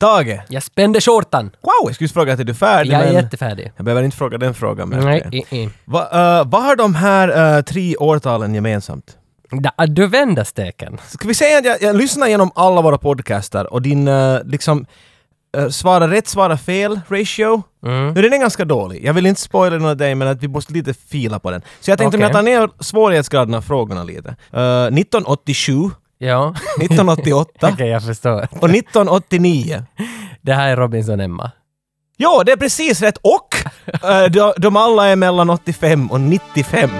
Tage! Jag spände skjortan. Wow, jag skulle fråga att är du färdig Jag är men... jättefärdig. Jag behöver inte fråga den frågan men... Nej, okej. i- i. Va, eh, vad har de här eh, tre årtalen gemensamt? Da, du vänder steken. Ska vi säga att jag, jag lyssnar igenom alla våra podcaster och din eh, liksom eh, svara rätt, svara fel ratio. Mm. Nu den är ganska dålig. Jag vill inte spoila den åt dig men att vi måste lite fila på den. Så jag tänkte om jag tar Okej. ner svårighetsgraden av frågorna lite. Eh, 1987, Ja, 1988 okej jag förstår. och 1989. Det här är Robinson Emma. Ja, det är precis rätt och eh, de, de alla är mellan 85 och 95.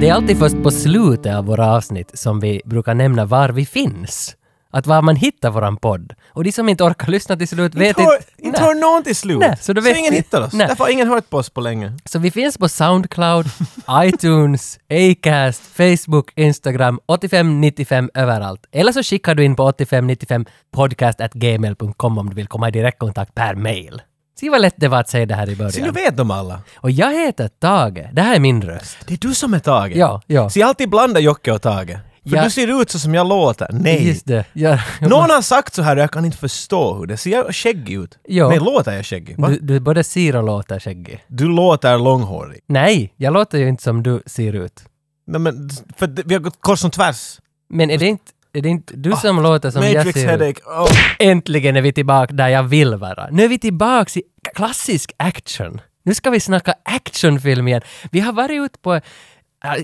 Det är alltid först på slutet av våra avsnitt som vi brukar nämna var vi finns. Att var man hittar våran podd. Och de som inte orkar lyssna till slut vet inte hör, inte... inte Nej. hör någon till slut. Nej, så så då vet ingen vi- hittar oss. Nej. Därför har ingen hört på oss på länge. Så vi finns på Soundcloud, iTunes, Acast, Facebook, Instagram, 8595 överallt. Eller så skickar du in på 8595 podcastgmail.com om du vill komma i direktkontakt per mail. Se vad lätt det var att säga det här i Så nu början. vet de alla. Och jag heter Tage. Det här är min röst. Det är du som är Tage. Ja, ja. Så jag alltid blandar Jocke och Tage. För Ja. du ser ut så som jag låter. Nej. Just det. Jag, Någon har sagt så här och jag kan inte förstå hur det ser jag skäggig ut. Ja. Nej, låter jag skäggig? Va? du, Du, du både ser och låter skäggig. låter långhårig. Nej, jag låter ju inte som du ser ut. Nej, men, för det- vi har gått kors och tvärs. Men är det inte, är det inte du som låter som jag Ah. Matrix ser ut? headache. Oh. Äntligen är vi tillbaka där jag vill vara. Nu är vi tillbaka i klassisk action. Nu ska vi snacka actionfilm igen. Vi har varit ute på, äh,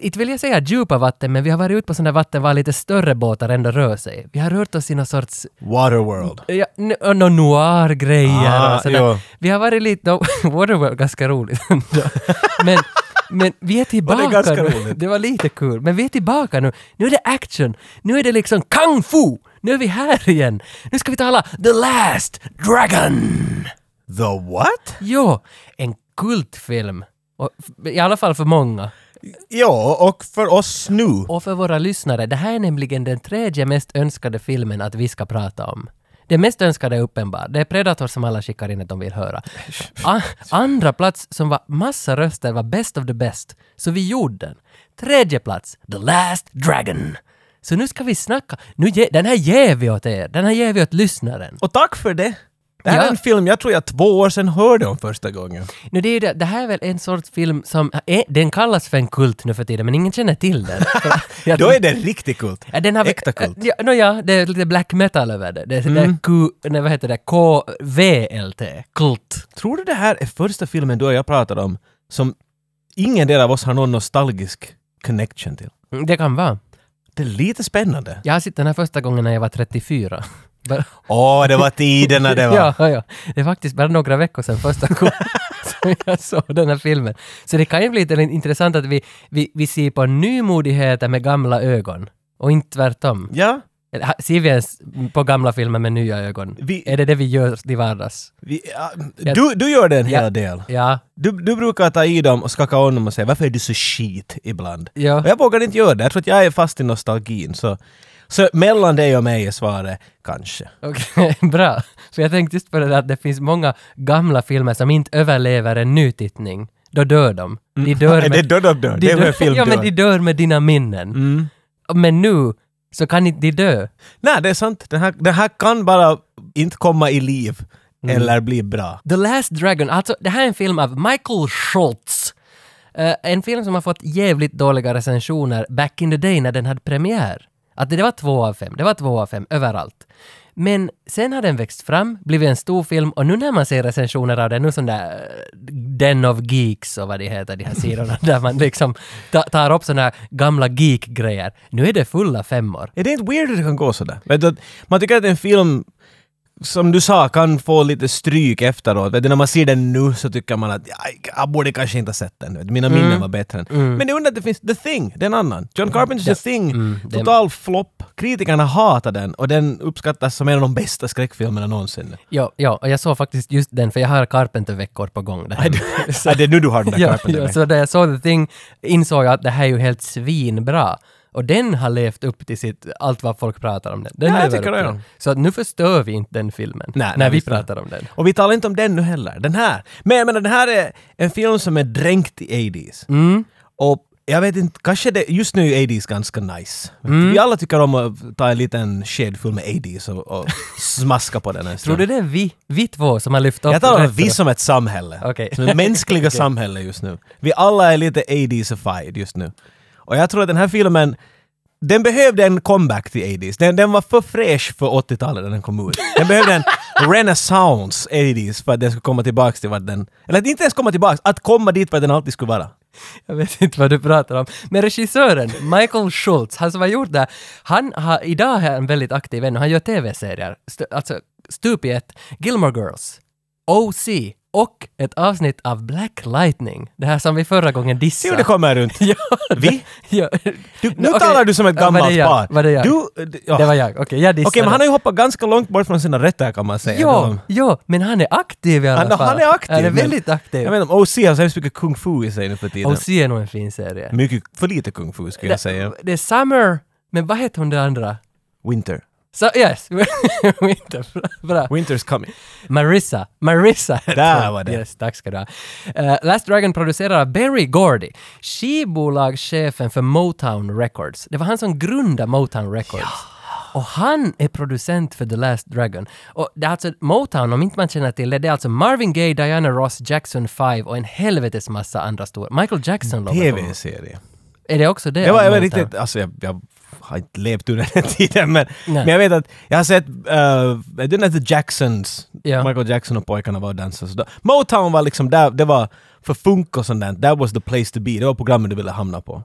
inte vill jag säga djupa vatten, men vi har varit ute på sådana vatten var lite större båtar ändå rör sig. Vi har rört oss i någon sorts Waterworld. Ja, n- och någon noir-grejer Ah, och sådär. jo. Vi har varit lite... Waterworld, ganska roligt ändå. men, men vi är tillbaka ganska nu. roligt? Det var lite kul. Men vi är tillbaka nu. Nu är det action. Nu är det liksom kung fu! Nu är vi här igen. Nu ska vi tala The Last Dragon! The what? Jo, en kultfilm. Och, f- I alla fall för många. Ja, och för oss nu. Och för våra lyssnare, det här är nämligen den tredje mest önskade filmen att vi ska prata om. Den mest önskade är uppenbar. Det är Predator som alla skickar in att de vill höra. A- andra plats som var massa röster var Best of the Best, så vi gjorde den. Tredje plats, The Last Dragon. Så nu ska vi snacka. Nu ge, den här ger vi åt er, den här ger vi åt lyssnaren. Och tack för det. Det här Ja. är en film jag tror jag två år sedan hörde om första gången. Nu det, är ju det, det här är väl en sorts film som, eh, den kallas för en kult nu för tiden, men ingen känner till den. Jag- Då är det riktigt kult. Ja, den har vi- Äkta kult. Mm. Ja, no, ja, det är lite black metal över det. Det är det är Q, nej, vad heter det? KVLT, kult. Tror du det här är första filmen du och jag pratar om som ingen del av oss har någon nostalgisk connection till? Mm, Det kan vara. Det är lite spännande. Jag har sett den här första gången när jag var 34. Bara- Åh, det var tiderna det var. Ja, ja, ja. Det är faktiskt bara några veckor sedan första gången som jag såg den här filmen. Så det kan ju bli lite intressant att vi, vi, vi ser på nymodigheter med gamla ögon. Och inte tvärtom. Ja, Eller, ha- Ser vi ens på gamla filmer med nya ögon? Vi- Är det det vi gör till vardags? vi, ja, Ja. du, du gör det en hel Ja. del. Ja, Du, du brukar ta i dem och skaka om dem och säga varför är du så skit ibland? ja. Och jag vågar inte göra det, jag tror att jag är fast i nostalgin. Så, så mellan dig och mig är svaret kanske. Okej, bra. För jag tänkte just på det där att det finns många gamla filmer som inte överlever en nytittning. Då dör de. De dör Är Mm. det med, dör, dör, dör? Det är de hur en film ja, men de dör. dör med dina minnen. Mm. Men nu så kan inte de dö. Nej, det är sant. Den här, den här kan bara inte komma i liv Mm. eller bli bra. The Last Dragon, alltså det här är en film av Michael Schultz. Eh, en film som har fått jävligt dåliga recensioner back in the day när den hade premiär. Att det, det var två av fem, det var två av fem överallt. Men sen har den växt fram, blivit en stor film och nu när man ser recensioner av den, nu sån där eh, Den of Geeks och vad det heter, de här sidorna där man liksom ta, tar upp såna här gamla geek-grejer. Nu är det fulla femmor. Är det inte weird att det kan gå sådär? Vet du, att Man tycker att en film som du sa, kan få lite stryk efteråt. Vet du, när man ser den nu så tycker man att "Aj, jag borde kanske inte ha sett den. Vet du, Mina Mm. minnen var bättre. Än. Men det är under att det finns The Thing, det är en annan. John Carpenters The Thing, Mm, det- total flopp. Kritikerna hatar den och den uppskattas som en av de bästa skräckfilmerna någonsin. Ja, ja, och jag såg faktiskt just den, för jag har Carpenter-veckor på gång. Där hemma. Så det är nu du har den där ja, Carpenter. ja, så när jag såg The Thing insåg jag att det här är ju helt svinbra. Och den har levt upp till sitt, allt vad folk pratar om den. den Ja, lever jag tycker upp det, till ja. den. Så att nu förstör vi inte den filmen, Nej, nej, när vi visst pratar om den. Och vi talar inte om den nu heller, den här. Men jag menar, den här är en film som är dränkt i 80s. Mm. Och jag vet inte, kanske det, just nu är 80s ganska nice. Mm. Vi alla tycker om att ta en liten sked full med 80s och, och smaska på den en Tror stund. du det är vi, vi två som har lyft upp Jag talar om rätt vi som ett samhälle. Okej. Som det mänskliga samhälle just nu. Vi alla är lite 80s-ified just nu. Och jag tror att den här filmen, den behövde en comeback till 80s. Den, den var för fräsch för 80-talet när den kom ut. Den behövde en renaissance 80s för att den skulle komma tillbaka till vad den... Eller att inte ens komma tillbaka, att komma dit vad den alltid skulle vara. Jag vet inte vad du pratar om. Men regissören, Michael Schultz, han som har gjort det här, han har, idag är han väldigt aktiv ännu, han gör tv-serier, St- alltså stup i ett, Gilmore Girls, OC och ett avsnitt av Black Lightning, det här som vi förra gången Se hur det dissade. kommer runt. Ja, Vi? ja. Du, nu Okej. talar du som ett Ja, var gammalt det jag? par. Var det jag? Du... d- ja. Det var jag, okej, jag dissade. Okej, men han har ju hoppat ganska långt bort från sina rötter kan man säga. Ja, De- ja, men han är aktiv i alla Han, fall. han är aktiv. Han är men- väldigt aktiv. Jag vet inte, OC har så hemskt mycket kung fu i sig nu för tiden. OC är nog en fin serie. Mycket, för lite kung fu skulle jag säga. Det är Summer, men vad heter hon den andra? Winter. Så, yes, inte bra. Winter's coming. Marissa, Marissa heter Där hon. var det. Yes, tack ska du ha. Eh, Last Dragon producerar av Barry Gordy, skivbolagschefen för Motown Records. Det var han som grundade Motown Records. Och han är producent för The Last Dragon. Och det är alltså Motown, om inte man känner till det, det är alltså Marvin Gaye, Diana Ross, Jackson 5 och en helvetes massa andra stora. Michael Jackson låg bakom. TV-serie. Är det också det? Det var, av jag var Motown? riktigt, alltså jag, jag har inte levt under den tiden men, Nej. men jag vet att jag har sett, uh, den hette Jacksons, Ja. Michael Jackson och pojkarna var och dansade. Så då- Motown var liksom där, det var för funk och sånt där, that was the place to be, det var programmet du ville hamna på.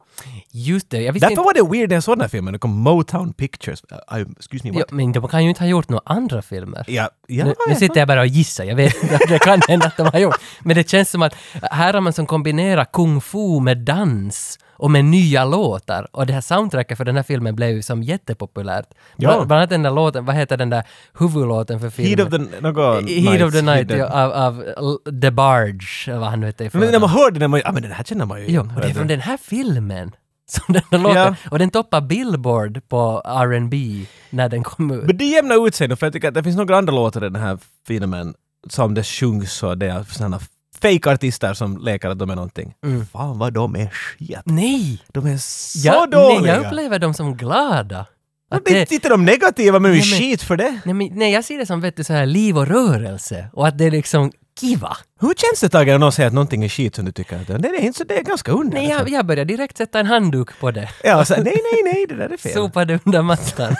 Just det, jag visste Därför var det weird när jag såg den här filmen, det kom Motown Pictures, uh, I, excuse me inte... Ja, what? men de kan ju inte ha gjort några andra filmer. Ja, ja, Nu, nu ja. sitter jag bara och gissar, jag vet inte, det kan hända att de har gjort. Men det känns som att här har man som kombinerar kung fu med dans och med nya låtar. Och det här soundtracket för den här filmen blev ju som jättepopulärt. Ja. Bland, bland annat den där låten, vad heter den där huvudlåten för filmen? Heat of the, något Heat of the Night Heat ja, of- av, av L- The Barge, eller vad han nu hette i Men när förnamn. man hörde den, man, ja men den här känner man ju Jo, igen. och det är från den här filmen som den här låten. Ja. Och den toppar Billboard på R&B när den kom ut. Men det jämnar ut sig nu, för jag tycker att det finns några andra låtar i den här filmen som det sjungs och det är sådana fake-artister som leker att de är någonting. Mm. Fan vad de är skit. Nej! De är så Jag, nej, dåliga! jag upplever dem som glada. Att det... det, Inte inte de negativa, men, Nej, men men- skit för det. nej, men, nej, jag ser det som vet du, så här liv och rörelse och att det är liksom kiva. Hur känns det Tage när någon säger att någonting är skit som du tycker att det är? Nej, det är inte så, det är ganska under. Nej, jag, jag börjar direkt sätta en handduk på det. Ja, så, nej, nej, nej, det där är fel. Sopa det under mattan.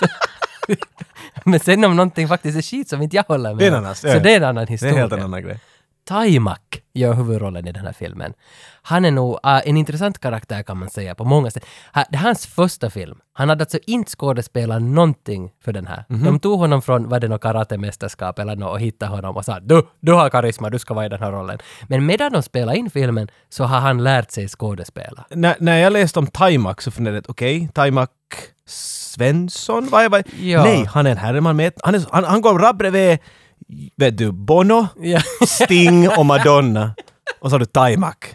Så- Men sen om någonting faktiskt är skit som inte jag håller med Det är en om, annan- Så ja, ja. det är en annan Det är en historia. helt annan grej. Taimak gör huvudrollen i den här filmen. Han är nog ah, en intressant karaktär kan man säga på många sätt. Ha, det här är hans första film. Han hade alltså inte skådespelat någonting för den här. Mhm. De tog honom från, var det något karatemästerskap eller något och hittade honom och sa du, du har karisma, du ska vara i den här rollen. Men medan de spelade in filmen så har han lärt sig skådespela. när, när jag läste om Taimak så funderade jag, okej, Taimak Svensson? Vad, vad? Ja. Nej, han är en herreman med. Han, är, han, han går rakt bredvid, vet du, Bono, Ja. Sting och Madonna. Och så har du Taimak.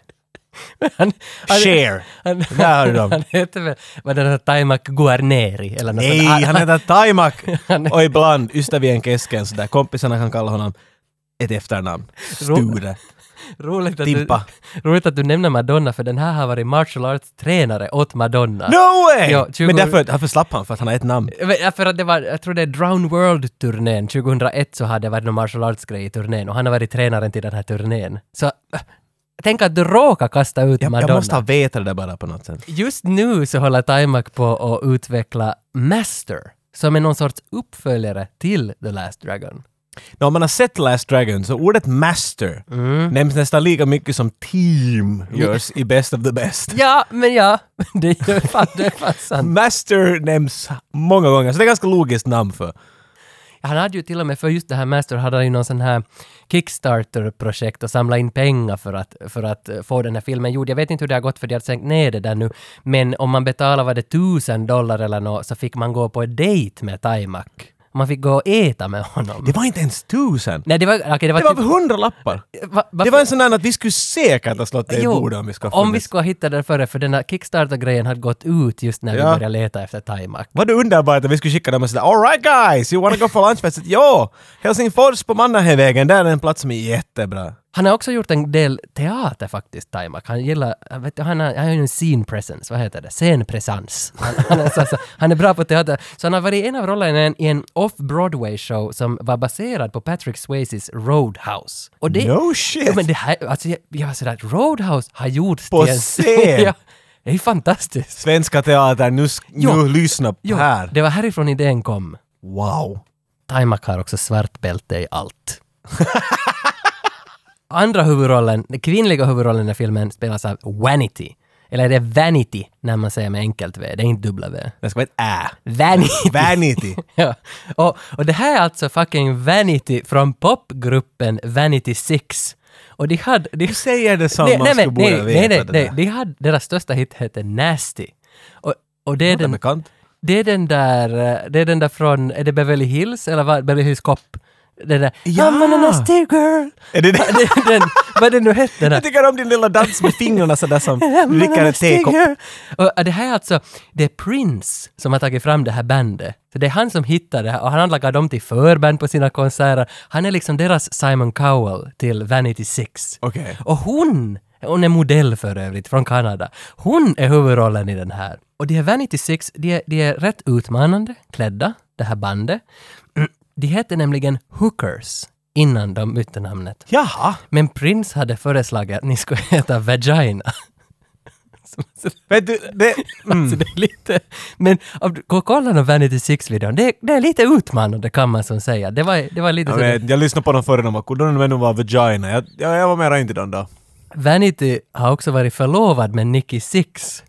Han, han- Cher. han- Där har du dem. Han heter väl, vad den här Taimak Guarneri eller något Nej, sånt. han heter Taimak! Han- Och ibland, Ystävien kesken, så där kompisarna kan kalla honom ett efternamn. Sture. Roligt att, du, Timpa. roligt att du nämner Madonna för den här har varit martial arts-tränare åt Madonna. No way! Ja, 20 Men därför, därför slapp han, för att han har ett namn. Men, ja, För att det var, jag tror det är Drown World-turnén 2001 så hade det varit någon martial arts-grej i turnén och han har varit tränaren till den här turnén. Så äh, tänk att du råkar kasta ut Jag, Madonna. jag måste ha vetat det där bara på något sätt. Just nu så håller Timac på att utveckla Master som är någon sorts uppföljare till The Last Dragon. När man har sett Last Dragon så ordet master Mm. nämns nästan lika mycket som team görs i Best of the Best. Ja, men ja, det är fan, det är fan sant. Master nämns många gånger, så det är ganska logiskt namn för. Han hade ju till och med för just det här Master hade han ju någon sån här Kickstarter-projekt och samla in pengar för att, för att eh, få den här filmen gjord. Jag vet inte hur det har gått för de har sänkt ner det där nu, men om man betalade var det tusen dollar eller något så fick man gå på en dejt med Taimak. Man fick gå och äta med honom. Det var inte ens tusen! Nej, det var... Okej, det var, Det var typ- hundra lappar! Va- va- Det var en sån där att vi skulle säkert ha slått det i Jo, bordet om vi skulle ha om vi funnits. skulle ha hittat den före, för den här Kickstarter-grejen hade gått ut just när vi Ja. började leta efter Taimak. Var det underbart att vi skulle skicka dem och sådär “All right guys, you wanna go for lunch?” fest?" Jo! Helsingfors på Mannerheimvägen, där är en plats som är jättebra. Han har också gjort en del teater faktiskt, Taimak. Han gillar, han vet, du, han, har, han har ju en scene presence, vad heter det? Scenpresens. Han, han, är så- så- han är bra på teater. Så han har varit i en av rollerna i en, i en off-Broadway show som var baserad på Patrick Swayzes Roadhouse. Och det, No Ja, shit! men det här, alltså jag, jag var sådär, Roadhouse har gjorts På till en scen! ja, det är ju fantastiskt. Svenska teatern, nu, sk- Jo. nu lyssna Jo, här! det var härifrån idén kom. Wow! Taimak har också svart bälte i allt. Andra huvudrollen, den kvinnliga huvudrollen i filmen spelas av Vanity. Eller är det Vanity när man säger med enkelt V? Det är inte dubbla V. Det ska vara ett ä. Vanity! Vanity! ja. och, och det här är alltså fucking Vanity från popgruppen Vanity Six. Och de hade... De, Du säger det som nej, man nej, skulle men, borde nej, veta nej, nej, det nej, där. de hade, deras största hit hette Nasty. Och, och det är Det är den bekant. det är den där, eh, det är den där från, är det Beverly Hills eller vad, Beverly Hills Cop? Den där Ja! I'm a nasty girl! Är det det? den, den, vad den nu hette Jag den här. tycker om din lilla dans med fingrarna sådär som "I'm a du dricker en nasty tekopp. girl." Och eh, det här är alltså, det är Prince som har tagit fram det här bandet. Så det är han som hittar det här och han har lagat dem till förband på sina konserter. Han är liksom deras Simon Cowell till Vanity Six. Okej. Och hon, hon är modell för övrigt, från Kanada. Hon är huvudrollen i den här. Och de här Vanity Six, de är, de är rätt utmanande klädda, det här bandet. Mm, De hette nämligen Hookers innan de bytte namnet. Jaha! Men Prince hade föreslagit att ni skulle heta Vagina. Vet du, det... Så Alltså, det är lite... Men om du går och kollar den Vanity Six-videon, det, det är lite utmanande kan man som säga. Det var, det var lite Jag, sådär- vet, jag lyssnade på dem förr, de var coola, de ännu var vagina. Jag, jag, jag var mera inte den då. Vanity har också varit förlovad med Nicky Six.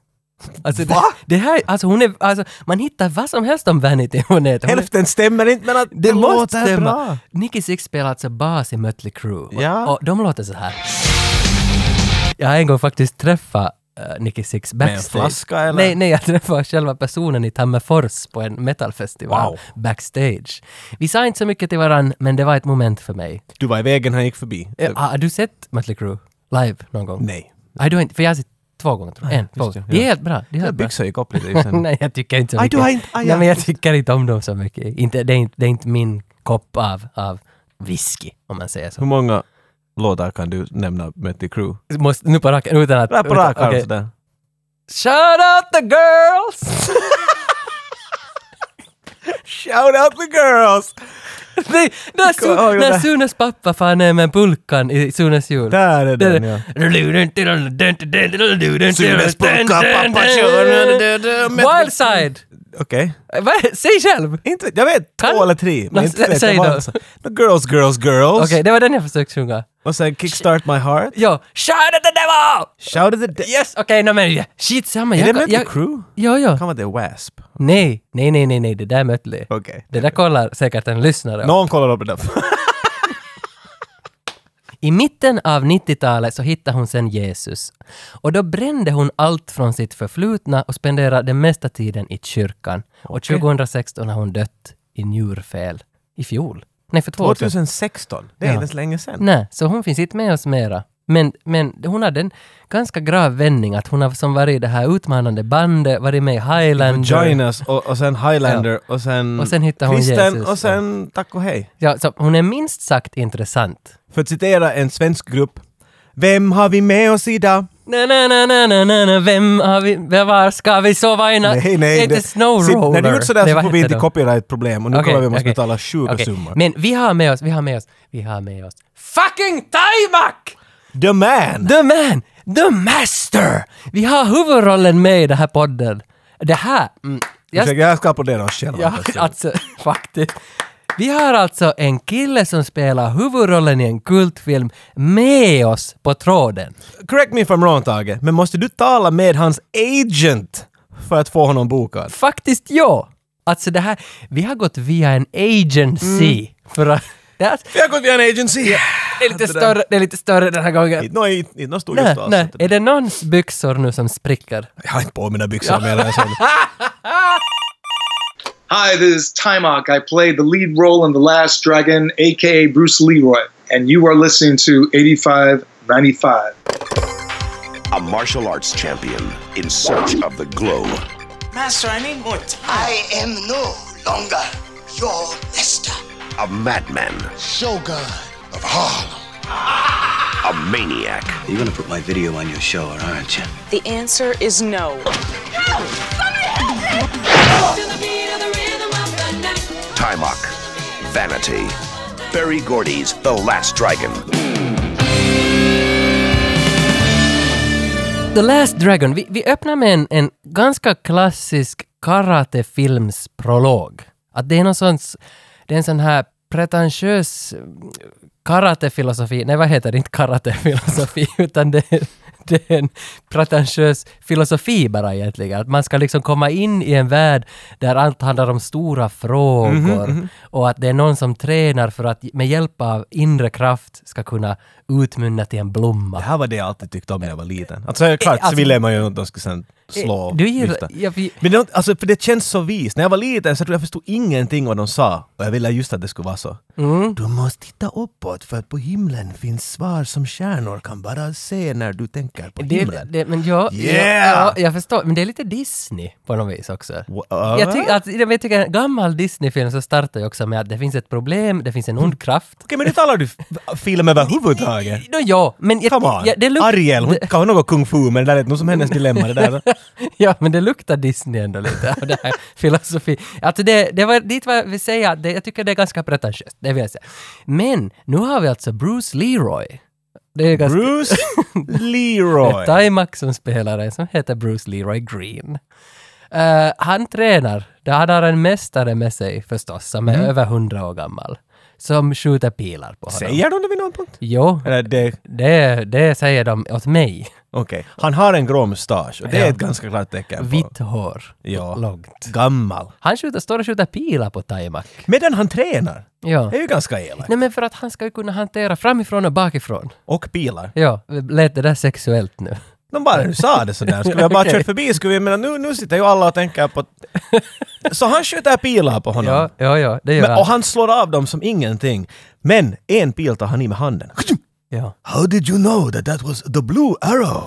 Alltså, det, det här, alltså hon är, alltså, man hittar vad som helst om Vanity hon är. Hon är Hälften stämmer inte, men att det måste låter stämma. bra. Nicky Six spelar alltså bas i Mötley Crüe. Och- Ja. Och de låter så här. Jag har en gång faktiskt träffat uh, Nicky Six Med en backstage. flaska, eller? Nej, nej, jag träffade själva personen i Tammerfors på en metalfestival Wow. backstage. Vi sa inte så mycket till varandra, men det var ett moment för mig. Du var i vägen, han gick förbi. Eh, Har du sett Mötley Crüe live någon gång? Nej. Nej, du har inte, för jag har sett två gånger tror jag. En, två just gånger. det, Ah, ja. Det är helt bra. Det är helt bra. Byxor gick upp lite i sen. Nej, jag tycker inte så Aj, mycket. du har inte- aj, Nej, ja, men jag just tycker inte om dem så mycket. Inte, det, är inte, det är inte min kopp av, av whisky, om man säger så. Hur många låtar kan du nämna med till crew? Måste, nu på rak utan att... Där på utan- rak arm okej. sådär. Shout out the girls! Shout out the girls! Nej, när, Kommer Su- ihåg det när där? Sunes pappa far ner med pulkan i Sunes jul. Där är den ja. Sunes pulka, pappa kör. Wildside! Okej. Vad är- Säg själv! Inte vet- jag vet två Kan- eller tre. Nå, Men inte sä- vet säg jag då. vad alltså. No, Girls, girls, girls. Okej, det var den jag försökte sjunga. Och sen Kickstart My Heart. Jo, shout at the devil! Shout at the de- Yes, okej, okay, no, men shit samma. Är Jag, det Mötley jag, Crüe? ja, ja. Kan vara det W.A.S.P. Nej, nej, nej, nej, nej, det där är Mötley. Okej. Det där kollar säkert en lyssnare. Någon kollar upp det där. I mitten av 90-talet så hittade hon sen Jesus. Och då brände hon allt från sitt förflutna och spenderade den mesta tiden i kyrkan. Och Okej. 2016 har hon dött i njurfel. I fjol? Nej, för två år sedan. 2016. Det är Ja. inte ens länge sedan. Nej, så hon finns inte med oss mera. Men, men hon hade en ganska grav vändning att hon har som varit i det här utmanande bandet, varit med i Highlander. Vaginas och, och sen Highlander och sen... Och sen hittar hon Kristen Jesus. och sen Tack och hej. Ja, så hon är minst sagt intressant. För att citera en svensk grupp. Vem har vi med oss idag? Na, na, na, na, na, na, na. Vem har vi, vem var ska vi sova i natt? Nej, nej. Inte Sitt- Snowroller. När du gjort sådär Nej, så vad får vi heter inte de? copyright-problem och nu Okej, kommer vi måste okej. betala sjuka Okej, summor. Men vi har med oss, vi har med oss, vi har med oss fucking Taimak! The man! The man! The master! Vi har huvudrollen med i den här podden. Det här... Mm, jag, Ursäkta, jag ska applådera oss själva. Ja, först. alltså faktiskt. Vi har alltså en kille som spelar huvudrollen i en kultfilm med oss på tråden. Correct me if I'm wrong Tage, men måste du tala med hans agent för att få honom bokad? Faktiskt ja. Alltså det här, vi har gått via en agency för att... Det, här, Vi har gått via en agency! Mm. det, är lite större, det är lite större den här gången. Inte någon- inte någon stor Nej, just då, nej. alltså. Är det någons byxor nu som spricker? Jag har inte på mina byxor mer än så. Hi, this is Timok. I played the lead role in The Last Dragon, aka Bruce Leroy, and you are listening to 8595. a martial arts champion in search of the glow. Master, I need more time. I am no longer your master. A madman, Shogun of Harlem. a maniac, You're gonna put my video on your show, aren't you? The answer is no. Timok, Vanity, Barry Gordy's The Last Dragon. The Last Dragon. Vi, vi öppnar med en, en ganska klassisk karatefilmsprolog. Att det är någon sorts, det är en sån här pretentiös eh, karatefilosofi, nej vad heter det, inte karatefilosofi, utan det, är- det är en pretentiös filosofi bara egentligen. Att man ska liksom komma in i en värld där allt handlar om stora frågor och att det är någon som tränar för att med hjälp av inre kraft ska kunna utmynna till en blomma. Det här var det jag alltid tyckte om när jag var liten. Alltså det är klart, så Alltså- ville man ju att de skulle sen slå och Du gillar, vifta. ja, vi, Men det, alltså, för det känns så vist. När jag var liten så tror jag förstod ingenting vad de sa. Och jag ville just att det skulle vara så. Du måste titta uppåt för att på himlen finns svar som stjärnor kan bara se när du tänker på Det, himlen. det, men jag, Yeah! jag, ja, jag förstår, men det är lite Disney på något vis också. Wha- Jag, tycker att, jag tycker en gammal Disney-film så startar ju också med att det finns ett problem, det finns en ond kraft. Okej, men nu talar du f- film överhuvudtaget. Nå ja, men... Jag, Come on! ja, det luk- Ariel, hon det- kan ha något kung fu, men det där är nog som hennes dilemma. Det där. Ja, men det luktar Disney ändå lite av det här filosofi. Alltså det, det var dit vad jag vill säga, det, jag tycker det är ganska pretentiöst, det vill jag säga. Men nu har vi alltså Bruce Leroy. Det är ganska... Bruce Leroy. Timax som spelare som heter Bruce Leroy Green. Eh, han tränar, där han har en mästare med sig förstås, som är över hundra år gammal. Som skjuter pilar på honom. Säger de det vid någon punkt? Jo, Eller det... det, det säger de åt mig. Okej. Han har en grå mustasch och det Ja. är ett ganska klart tecken på... Vitt hår. Ja. Långt. Gammal. Han skjuter, står och skjuter pilar på Taimak. Medan han tränar. Ja. Det är ju ganska elakt. Nej men för att han ska ju kunna hantera framifrån och bakifrån. Och pilar. Ja, lät det där sexuellt nu? De bara du sa det sådär. Skulle jag bara Okej. kört förbi skulle vi... Men nu, nu sitter ju alla och tänker på... Så han skjuter pilar på honom. Ja, ja, ja, det gör Men, och han. han slår av dem som ingenting. Men en pil tar han i med handen. Ja. How did you know that that was the blue arrow?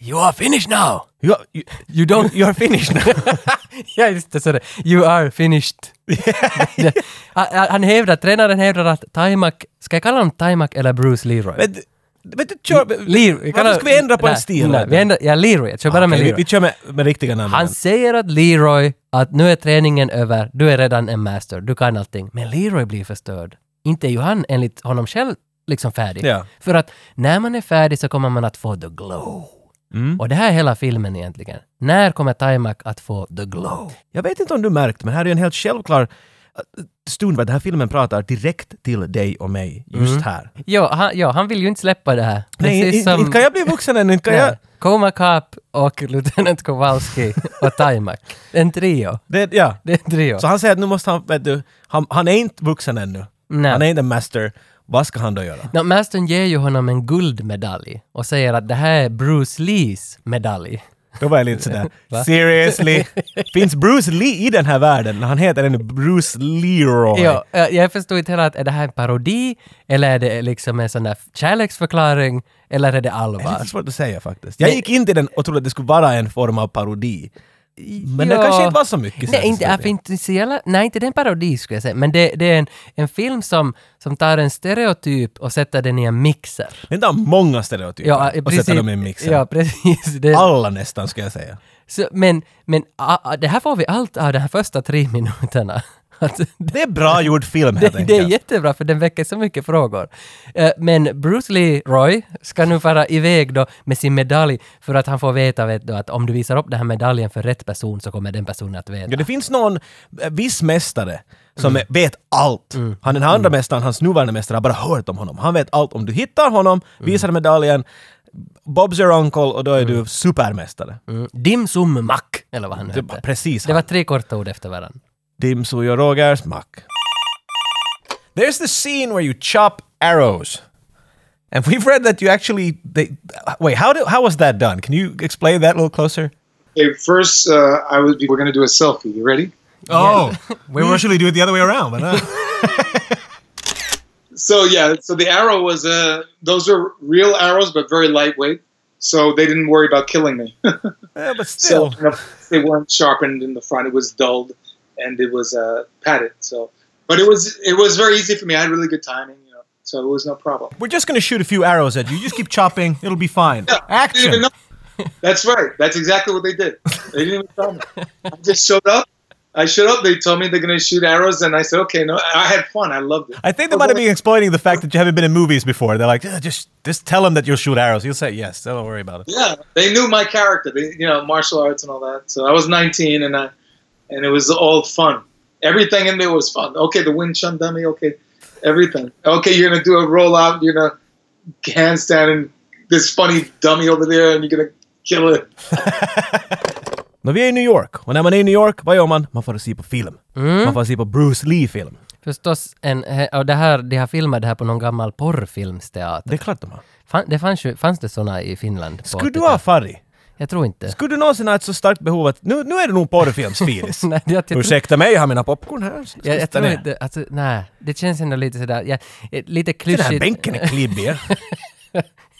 You are finished now! You, you, You don't... you're finished now. ja, just det, så det. You are finished. han, han hävdar, tränaren hävdar att Taimak, ska jag kalla honom Taimak eller Bruce Leroy? men, men du kör... Leroy. Varför ska vi ändra på en Nej, stil? Nej, vi ändrar, ja, Leroy. Jag kör bara med Okej, vi, Leroy. vi kör med, med riktiga namn. han säger att Leroy, att nu är träningen över, du är redan en master, du kan allting. Men Leroy blir förstörd. Inte är ju han, enligt honom själv, liksom färdig. Ja. För att när man är färdig så kommer man att få the glow. Mm. Och det här är hela filmen egentligen. När kommer Taimak att få the glow? Jag vet inte om du märkt, men här är en helt självklar eh, stund vad den här filmen pratar direkt till dig och mig, just Mm. här. Ja han, ja, han vill ju inte släppa det här. Nej, Precis inte- inte kan jag bli vuxen än, inte kan Ja. jag... Coma Cop och Lieutenant Kowalski och Taimak. En trio. Det, ja. Det är en trio. Så han säger att nu måste han, vet du, han, han är inte vuxen ännu. Nej. Han är inte en master. Vad ska han då göra? No, Mastern ger ju honom en guldmedalj och säger att det här är Bruce Lees medalj. Då var jag lite sådär, seriously? Finns Bruce Lee i den här världen? Han heter ännu Bruce Leroy. Ja, jag jag förstod inte heller att är det här en parodi eller är det liksom en sån där kärleksförklaring eller är det Det är lite allvar? svårt att säga faktiskt. Jag gick in till den och trodde att det skulle vara en form av parodi. Men det Ja. kanske inte var så mycket. sen Nej, till inte, slut. är för inte så jävla, nej, inte det är en parodi skulle jag säga, men det, det är en, en film som, som tar en stereotyp och sätter den i en mixer. Den tar många stereotyper Ja, och sätter dem i mixen. Ja, precis. Det, Alla nästan ska jag säga. så, men men a, a, det här får vi allt av de här första tre minuterna. Att, Det är bra gjord film helt det, det är enkelt. jättebra för den väcker så mycket frågor. Eh, Men Bruce Leroy ska nu fara iväg då med sin medalj för att han får veta vet du, att om du visar upp den här medaljen för rätt person så kommer den personen att veta. Ja, det finns någon eh, viss mästare som Mm. är- vet allt. Han, den här andra mästaren, hans nuvarande mästare, har bara hört om honom. Han vet allt. Om du hittar honom, Mm. visar medaljen, Bob's your uncle och då är du supermästare. Mm. Dim Sum Mak, eller vad han Det hette. var precis Mm. Det var han. tre korta ord efter varandra. Dimsu gör Rogers mack. There's the scene where you chop arrows. And we've read that you actually they, wait. How do, how was that done? Can you explain that a little closer? Okay, first, uh, I was, we're going to do a selfie. You ready? Oh, we usually do it the other way around, but uh. So yeah, so the arrow was uh, those are real arrows, but very lightweight. So they didn't worry about killing me. yeah, but still, so you know, they weren't sharpened in the front; it was dulled, and it was uh, padded. So, but it was it was very easy for me. I had really good timing, you know, so it was no problem. we're just gonna shoot a few arrows at you. Just keep chopping; it'll be fine. They didn't Action. even know. That's right. That's exactly what they did. They didn't even tell me. I just showed up. I showed up. They told me they're going to shoot arrows, and I said, "Okay, no." I had fun. I loved it. I think they might have been exploiting the fact that you haven't been in movies before. They're like, "Yeah, just just tell him that you'll shoot arrows. He'll say yes. Don't worry about it. Yeah, they knew my character. They, you know, martial arts and all that. So I was 19, and I, and it was all fun. Everything in there was fun. Okay, the Wing Chun dummy. Okay, everything. Okay, you're gonna do a rollout. You're gonna handstand and this funny dummy over there, and you're gonna kill it. När vi är i New York, och när man är i New York, vad gör man? Man får se på film. Hmm? Man får se på Bruce Lee-film. Förstås, en, he- och det här, de har filmat det här på någon gammal porrfilmsteater. Det är klart de har. Fan, det fanns, ju, fanns det såna i Finland? på Skulle du 80-talet? ha farit? Jag tror inte. Skulle du någonsin ha ett så starkt behov att nu, nu är det nog porrfilmsfilis? Nej, jag, jag, tror- Ursäkta mig, jag har mina popcorn här. Ska jag, jag sitta tror ner. inte, alltså, nej. Det känns ändå lite sådär, jag, eh, lite Den här klyschigt. bänken är klibbig.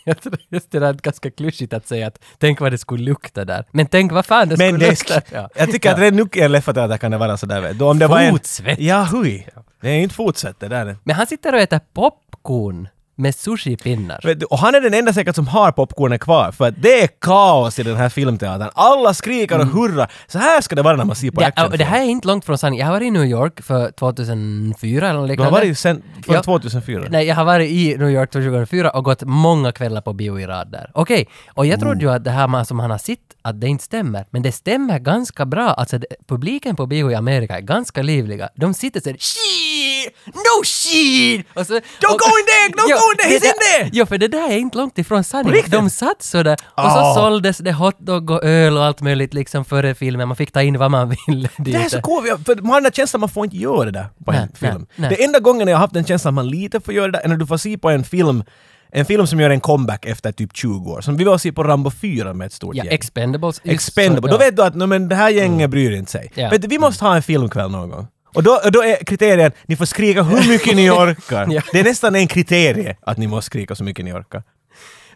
jag tror just det där är ganska klyschigt att säga att tänk vad det skulle lukta där. Men tänk vad fan det Men skulle det, lukta. Ja. jag tycker att redan nu i Leffatöda kan det vara sådär. vet du. Om det var en, Fotsvett. Ja, hui. Det är inte fotsvett det där. Men han sitter och äter popcorn med sushipinnar. Vet du, Och han är den enda säkert som har popcornen kvar, för att det är kaos i den här filmteatern. Alla skriker och hurrar. Så här ska det vara när man ser på Det, actionfilm. Mm. och det här är inte långt från sanningen. Jag har varit i New York för 2004 eller något Du har liknande. varit sen, från Ja. 2004? Nej, jag har varit i New York 2004 och gått många kvällar på bio i rad där. Okej, och jag trodde ju att det här man- som han har sett, att det inte stämmer. Men det stämmer ganska bra. Alltså, det, publiken på bio i Amerika är ganska livliga. De sitter såhär “Shit! No shit!” och så, Don't go in there! Don't go in there! He's det in där- there! Jo, för det där är inte långt ifrån På sanningen. riktigt? De satt sådär och Ah. så såldes det hotdog och öl och allt möjligt liksom före filmen. Man fick ta in vad man ville dit. Det här är så coolt, för man har den där känslan att man får inte göra det där på Nej, en film. nej, nej. Det enda gången jag har haft den känslan att man lite får göra det där är när du får se på en film en film som gör en comeback efter typ 20 år. Som vi var och se på Rambo 4 med ett stort Ja, gäng. Expendables. just Expendable. så, Mm. Då vet du att no, men det här gänget bryr inte sig. Ja. Vet du, vi måste ha en filmkväll någon gång. Och då, och då är kriterien, ni får skrika hur mycket ni orkar. Ja. Det är nästan en kriterie att ni måste skrika så mycket ni orkar.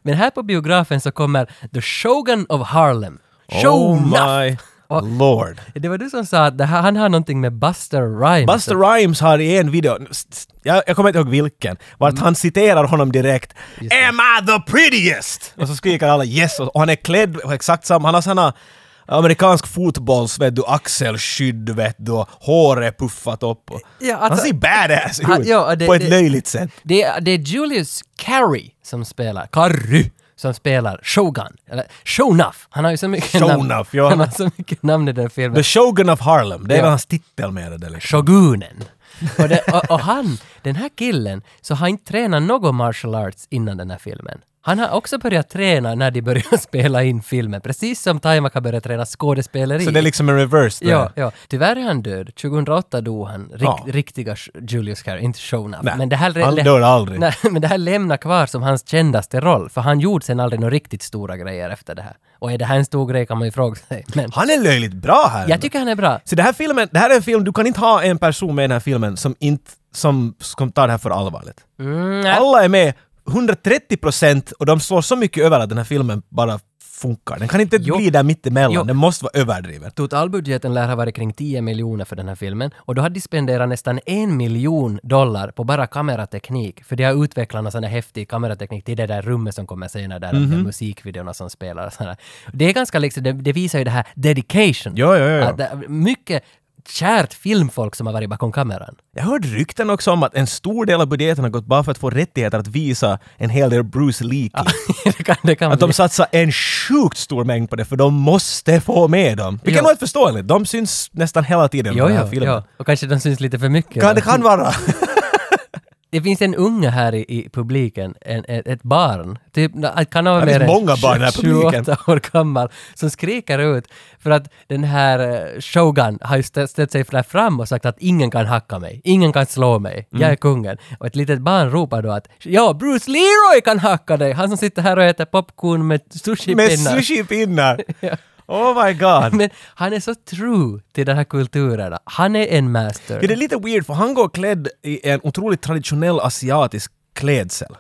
Men här på biografen så kommer The Shogun of Harlem. Show oh enough. my Och- lord. Det var du som sa att det här, han har någonting med Buster Rhymes. Buster Rhymes har i en video, jag, jag kommer inte ihåg vilken, vart han citerar honom direkt “Am I the prettiest?” Och så skriker alla “Yes” och, och han är klädd på exakt samma, han har såna amerikansk fotbolls, vet du, axelskydd, vet du, och håret puffat upp och, Ja, Han alltså- ser badass ut! Han- ja, det- på ett det- löjligt sätt. det, är, det är Julius Carey som spelar, Carey, som spelar Shogun. Eller Shownuff. Han har ju så mycket namn. Shonuff, ja. Han har så mycket namn i den filmen. The Shogun of Harlem, det är Ja. väl hans titel med det liksom. Shogunen. Och, det, och, och han, den här killen, så har inte tränat någon martial arts innan den här filmen. Han har också börjat träna när de började spela in filmen, precis som Taimaka började träna skådespeleri. Så det är liksom en reverse. där. Ja, ja. Tyvärr är han död. 2008 dog han. Rik, Ja. Riktiga Sh- Julius Carey, inte Shona. Nej, Men det här, han dör aldrig. Nej, men det här lämnar kvar som hans kändaste roll, för han gjorde sen aldrig några riktigt stora grejer efter det här. Och är det här en stor grej kan man ju fråga sig. Men Han är löjligt bra här! jag ändå. tycker han är bra. Så det här, filmen, det här är en film, du kan inte ha en person med i den här filmen som inte som, som tar det här för allvarligt. Mm, Alla är med 130 procent och de slår så mycket över att den här filmen bara funkar. Den kan inte Jo. bli där mittemellan, Jo. den måste vara överdriven. Totalbudgeten lär ha varit kring 10 miljoner för den här filmen och då hade de spenderat nästan en miljon dollar på bara kamerateknik för de har utvecklat någon sån här häftig kamerateknik till det där rummet som kommer senare där Mhm. mm musikvideorna som spelar och sådär. Det är ganska liksom, det, det visar ju det här dedication. Ja, ja, ja, ja. Att det är mycket kärt filmfolk som har varit bakom kameran. Jag hörde rykten också om att en stor del av budgeten har gått bara för att få rättigheter att visa en hel del Bruce Lee det kan, det kan Att de bli- satsar en sjukt stor mängd på det för de måste få med dem. Vilket Jo. är helt förståeligt, de syns nästan hela tiden i Jo, den här jo, filmen. jo. Och kanske de syns lite för mycket. Kan, det kan vara. Det finns en unge här i, i publiken, en, ett, ett barn, typ, na- kan ha Det varit finns mer än många barn i den här publiken. 28 år gammal, som skriker ut för att den här eh, Shogun har ju ställt, ställt sig där fram och sagt att ingen kan hacka mig, ingen kan slå mig, Mm. jag är kungen. Och ett litet barn ropar då att ja, Bruce Leroy kan hacka dig, han som sitter här och äter popcorn med Med sushi-pinnar. sushi-pinnar! Oh my god! Men han är så true till den här kulturen. Han är en master. Ja, det är lite weird för han går klädd i en otroligt traditionell asiatisk klädsel.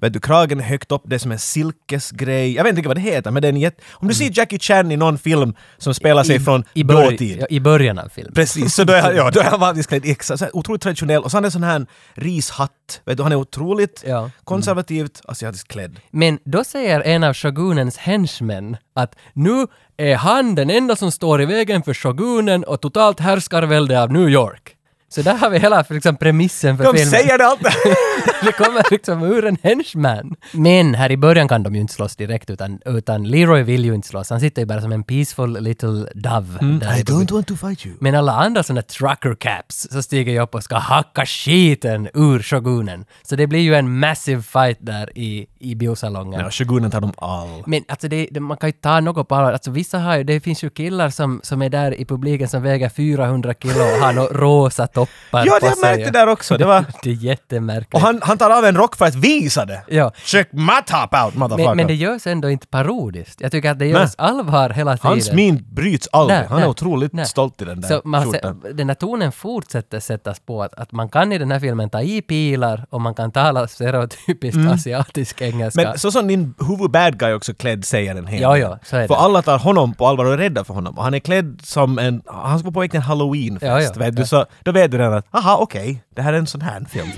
Vet du, kragen är högt upp, det är som en silkesgrej. Jag vet inte vad det heter, men det är en jätte... Om du ser Jackie Chan i någon film som spelar sig från Mm. I, bör- dåtid. ja, I början av filmen. Precis, så då är han, ja, då är han vanligtvis klädd i exakt, så här otroligt traditionell. Och så han är sån här rishatt. Vet du, han är otroligt Ja. konservativt asiatiskt klädd. Men då säger en av shogunens henchmen att nu är han den enda som står i vägen för shogunen och totalt härskarvälde av New York. Så där har vi hela liksom, premissen för De filmen. säger det allt! det kommer liksom ur en henchman. Men här i början kan de ju inte slåss direkt utan, utan Leroy vill ju inte slåss. Han sitter ju bara som en peaceful little dove. där i Mm. I publiken. don't want to fight you. Men alla andra såna trucker caps så stiger jag upp och ska hacka skiten ur shogunen. Så det blir ju en massive fight där i, i biosalongen. Ja, shogunen tar dem all. Men alltså det, det, man kan ju ta något på allvar. Alltså vissa har ju, det finns ju killar som, som är där i publiken som väger 400 kilo och har nå rosa toppar Ja, det på jag sig. märkte där också. Det var... Det är jättemärkligt. Och han, han tar av en rock för att visa det! Ja. Check my top out motherfucker! men, men det görs ändå inte parodiskt. Jag tycker att det görs allvar hela tiden. Hans min bryts aldrig. Nej, han är nej, otroligt nej. stolt i den där Så man se, skjortan. den här tonen fortsätter sättas på att, att man kan i den här filmen ta i pilar och man kan tala stereotypiskt asiatisk engelska. Mm. Men så som din huvud bad guy också klädd säger en hel Ja, del. ja, så är det. För alla tar honom på allvar och är rädda för honom. Och han är klädd som en... Han ska på väg till en halloweenfest. Ja, ja, vet ja. du? Så, då vet du redan att aha, okej, det här är en sån här film.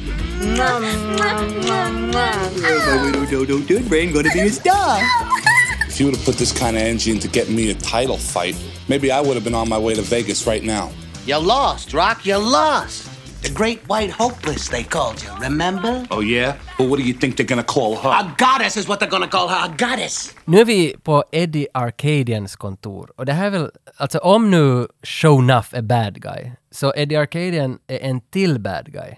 If you would have put this kind of energy into getting me a title fight, maybe I would have been on my way to Vegas right now. You lost, Rock. You lost. The Great White Hopeless, they called you. Remember? Oh, yeah? Well, what do you think they're gonna call her? A goddess is what they're gonna call her. A goddess. Nu är vi på Eddie Arcadians kontor och det här är väl, alltså om nu Show Nuff är bad guy, så Eddie Arcadian är en till bad guy,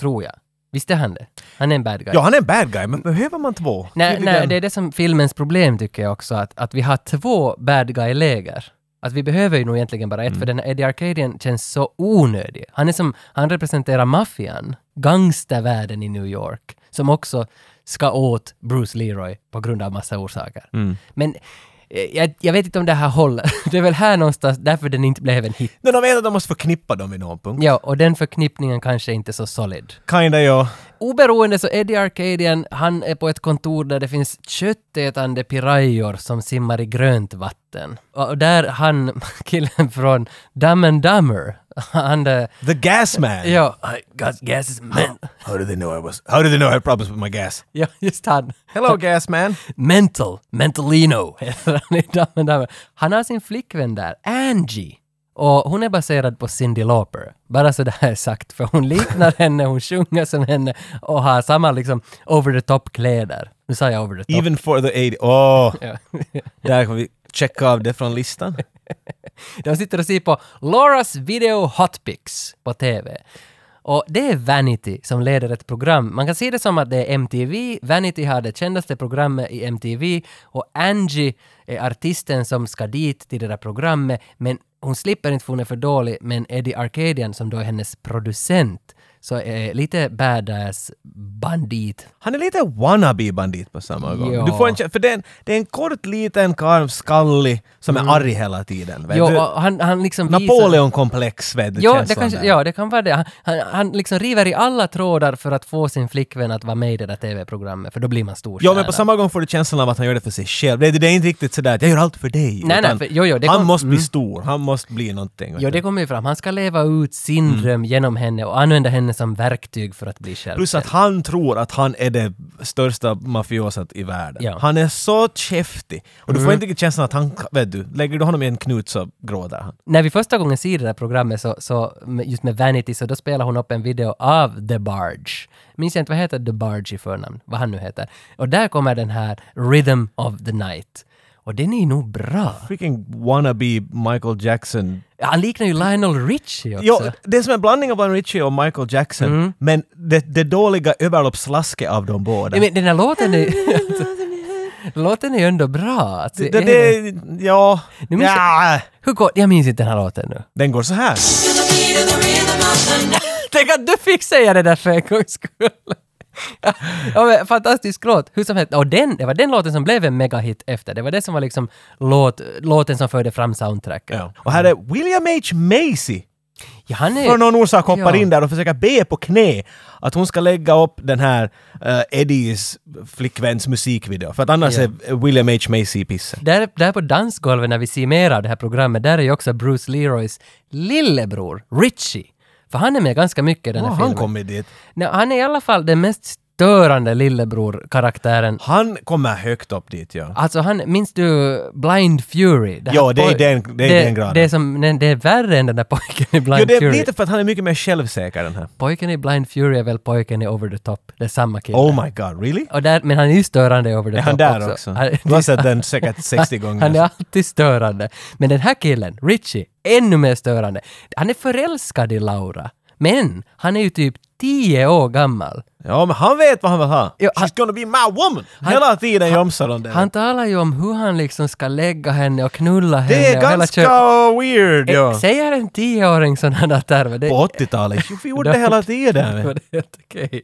tror jag. Visst är han det? Han är en bad guy. Ja, han är en bad guy, men behöver man två? Nej, Tydligen. nej, det är det som filmens problem tycker jag också, att, att vi har två bad guy-läger. Att vi behöver ju nog egentligen bara ett, för den här Eddie Arcadian känns så onödig. Han är som, han representerar maffian, gangstervärlden i New York, som också ska åt Bruce Leroy på grund av massa orsaker. Men eh, jag, jag vet inte om det här håller. Det är väl här någonstans, därför den inte blev en hit. Men de vet att de måste förknippa dem vid någon punkt. Ja, och den förknippningen kanske inte är så solid. Kinda ja. Oberoende så Eddie Arcadian, han är på ett kontor där det finns köttätande pirajor som simmar i grönt vatten. Och där han, killen från Dumb and Dumber, han där... The gas man! Ja, I got gases men... How do they know I was... How do they know I had problems with my gas? Ja, just han. Hello gas man! Mental, Mentalino heter han i Dumb and Dumber. Han har sin flickvän där, Angie. Och hon är baserad på Cyndi Lauper. Bara så det här är sagt, för hon liknar henne, hon sjunger som henne och har samma liksom over the top-kläder. Nu sa jag over the top. Even for the 80... Åh! Ja. Där kan vi checka av det från listan. De sitter och ser på Lauras video hotpics på TV. Och det är Vanity som leder ett program. Man kan se det som att det är MTV, Vanity har det kändaste programmet i MTV och Angie är artisten som ska dit till det där programmet men hon slipper inte för hon är för dålig men Eddie Arcadian som då är hennes producent så är lite badass bandit. Han är lite wannabe-bandit på samma gång. Ja. Du får en, kä- för det är, en, det är en kort liten karl, skallig, som är arg hela tiden. Vet Jo, du? Mm. och han, han liksom visar... Napoleon-komplex, vet du, Ja det, känslan kanske, där. ja, det kan vara det. Han, han, han liksom river i alla trådar för att få sin flickvän att vara med i det där TV-programmet, för då blir man stor Ja, men stjärna. på samma gång får du känslan av att han gör det för sig själv. Det, det är inte riktigt sådär att jag gör allt för dig. Nej, nej, utan för- jo, jo, det han kom- måste bli mm. stor, han måste bli någonting. vet Ja, du. det kommer ju fram. Han ska leva ut sin Mm. dröm genom henne och använda henne som verktyg för att bli själv. Plus att han tror att han är det största mafiosat i världen. Ja. Han är så käftig. Och du får inte riktigt känslan att han, vet du, lägger du honom i en knut så gråter han. När vi första gången ser det där programmet, så, så, med- just med Vanity, så då spelar hon upp en video av The Barge. Minns jag inte, vad heter The Barge i förnamn? Vad han nu heter. Och där kommer den här Rhythm of the Night. Och den är nog bra. Freaking wannabe Michael Jackson. Han liknar ju Lionel Richie också. Jo, det är som en blandning av Lionel Richie och Michael Jackson, men det, det dåliga överloppslasket av dem båda. Nej, men den här låten är Låten är ju ändå bra. Alltså, det, det, ja, Nu minns ja, Hur går... Jag minns inte den här låten nu. den går så här. Tänk att du fick säga det där för en gångs skull. ja, men, fantastisk låt. Hur som helst, och den, det var den låten som blev en megahit efter. Det var det som var liksom låt, låten som förde fram soundtracket. Ja. Och här är William H. Macy Ja, han är... för någon orsak hoppar Ja. in där och försöker be på knä att hon ska lägga upp den här eh, Eddies flickväns musikvideo. För att annars Ja. är William H. Macy i pissen. Där, där på dansgolvet när vi ser mer av det här programmet, där är ju också Bruce Leroys lillebror, Richie. För han är med ganska mycket i den här Var han filmen. kommer dit? Nej, han är i alla fall den mest störande lillebror-karaktären. Han kommer högt upp dit ja. Alltså han, minns du Blind Fury? Det här Ja, det är poj- den- det är den graden. Det är, som, nej, det är värre än den där pojken i Blind Jo, det är Fury. lite för att han är mycket mer självsäker den här. Pojken i Blind Fury är väl pojken i Over the Top. Det är samma kille. Oh my god, really? Och där, men han är ju störande i Over the Är Top han där också? Han- Du har sett den säkert 60 gånger. Han är alltid störande. Men den här killen, Richie, ännu mer störande. Han är förälskad i Laura. Men han är ju typ 10 år gammal. Ja, men han vet vad han vill ha. Ja, han- She's gonna be my woman! Hela tiden jomsar de det. Han talar ju om hur han liksom ska lägga henne och knulla henne. det är och hela ganska kö- weird Eh, ja. Säger en tioåring sådana termer? Det, På 80-talet. Vi gjorde det hela tiden. Ja, det är helt okej.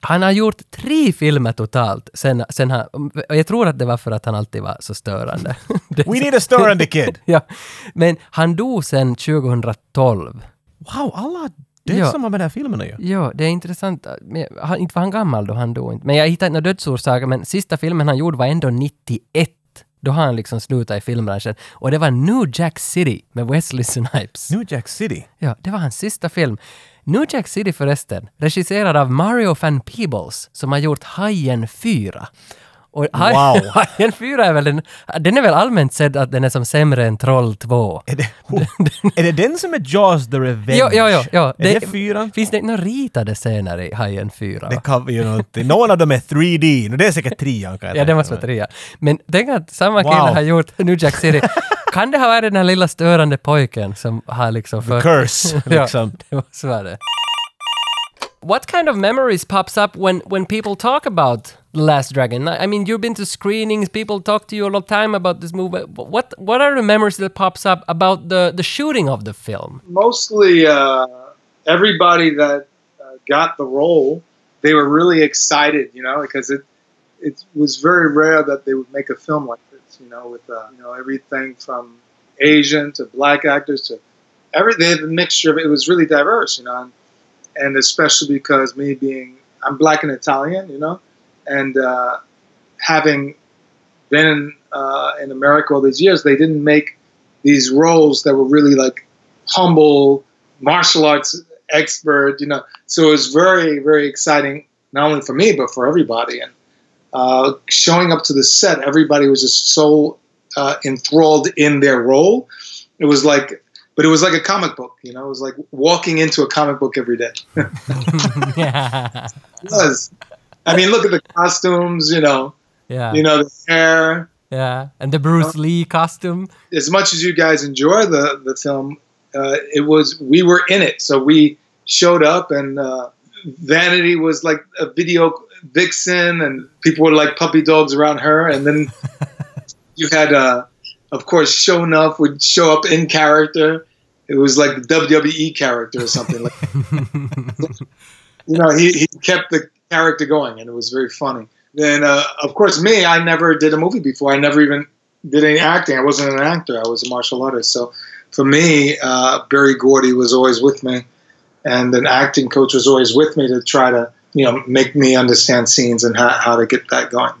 Han har gjort tre filmer totalt sen, sen han... och Jag tror att det var för att han alltid var så störande. Det- We need a störande kid! ja. Men han dog sen 2012. Wow, alla dödsdomar Ja. med den här filmen är ju. Ja, det är intressant. Men han, inte var han gammal då han dog. inte. Men jag hittade inte några dödsorsaker, men sista filmen han gjorde var ändå 91. Då har han liksom slutat i filmbranschen. Och det var New Jack City med Wesley Snipes. New Jack City. Ja, det var hans sista film. New Jack City förresten, regisserad av Mario Van Peebles som har gjort Hajen 4. Och Haj- Wow. Hajen 4 är väl den, den är väl allmänt sedd att den är som sämre än Troll 2. Är det, oh, är det den som är Jaws the Revenge? Jo, jo, jo, jo. Är det fyran? Finns det inte några ritade scener i Hajen 4? Det va? kan vi ju någonting. Någon av dem är 3D. Nu, det är säkert trean kan jag Ja, tänka det måste vara mig. trea. Men tänk att samma Wow. kille har gjort New Jack City. kan det ha varit den här lilla störande pojken som har liksom... fört- Curse, liksom. ja, det måste vara det. What kind of memories pops up when, when people talk about The Last Dragon? I I mean, you've been to screenings, people talk to you all the time about this movie. What, what are the memories that pops up about the, the shooting of the film? mostly uh, everybody that uh, got the role, they were really excited, you know, because it it was very rare that they would make a film like this, you know, with uh, you know everything from Asian to black actors to everything. They had a mixture of it was really diverse, you know, and, and especially because me being I'm black and Italian, you know, and uh, having been in, uh, in America all these years, they didn't make these roles that were really like humble martial arts expert, you know. So it was very, very exciting, not only for me, but for everybody. And uh, showing up to the set, everybody was just so uh, enthralled in their role. It was like, but it was like a comic book, you know, it was like walking into a comic book every day. yeah. It was. I mean, look at the costumes, you know, Yeah. you know, the hair. yeah. And the Bruce Lee costume. as much as you guys enjoy the the film, uh, it was we were in it, so we showed up, and uh, Vanity was like a video vixen, and people were like puppy dogs around her, and then you had, uh, of course, Show Enough would show up in character. It was like the WWE character or something. Like, you know, he, he kept the character going, and it was very funny. Then, uh, of course, me, I never did a movie before. I never even did any acting. I wasn't an actor. I was a martial artist. So for me, uh, Barry Gordy was always with me, and an acting coach was always with me to try to you know make me understand scenes and how, how to get that going.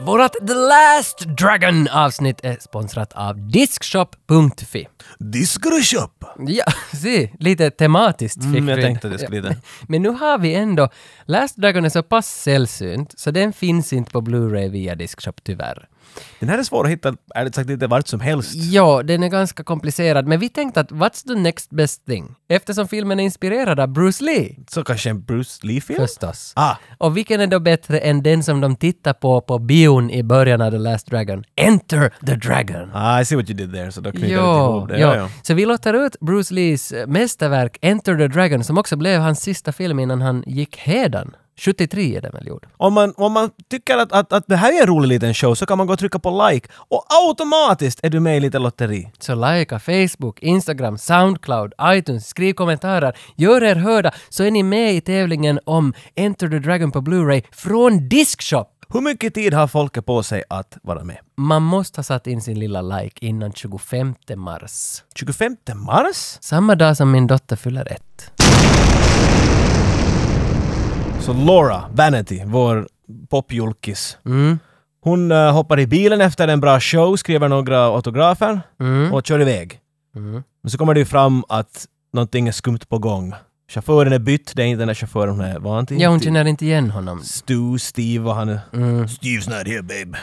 Vårat The Last Dragon avsnitt är sponsrat av Diskshop.fi. Det ska du köpa! Ja, se, lite tematiskt fick Mm, jag vi in. tänkte det skulle bli det. Men nu har vi ändå, Last Dragon är så pass sällsynt så den finns inte på Blu-ray via Diskshop tyvärr. Den här är svår att hitta, ärligt sagt, lite vart som helst. Ja, den är ganska komplicerad, men vi tänkte att what's the next best thing? Eftersom filmen är inspirerad av Bruce Lee, Så kanske en Bruce Lee-film? förstås. Ah, Och vilken är då bättre än den som de tittar på på bion i början av The Last Dragon? Enter the Dragon! ah, I see what you did there, så då knyter jag lite Jo, ihop det. Ja, jo. ja. Så vi låter ut Bruce Lees eh, mästerverk Enter the Dragon, som också blev hans sista film innan han gick hädan. 73 är den väl gjord? Om, man, om man tycker att, att, att det här är en rolig liten show så kan man gå och trycka på like och automatiskt är du med i lite lotteri. Så likea Facebook, Instagram, Soundcloud, iTunes, skriv kommentarer, gör er hörda så är ni med i tävlingen om Enter the Dragon på Blu-ray från Diskshop! Hur mycket tid har folket på sig att vara med? Man måste ha satt in sin lilla like innan 25 mars. 25 mars? Samma dag som min dotter fyller ett. Så Laura Vanity, vår popjulkis, Mm. hon eh, hoppar i bilen efter en bra show, skriver några autografer Mm. och kör iväg. Men så kommer det ju fram att någonting är skumt på gång. Chauffören är bytt, det är inte den där chauffören hon är van till. Ja, hon känner Mm. inte igen honom. Stu, Steve och han är... Steve's not here babe.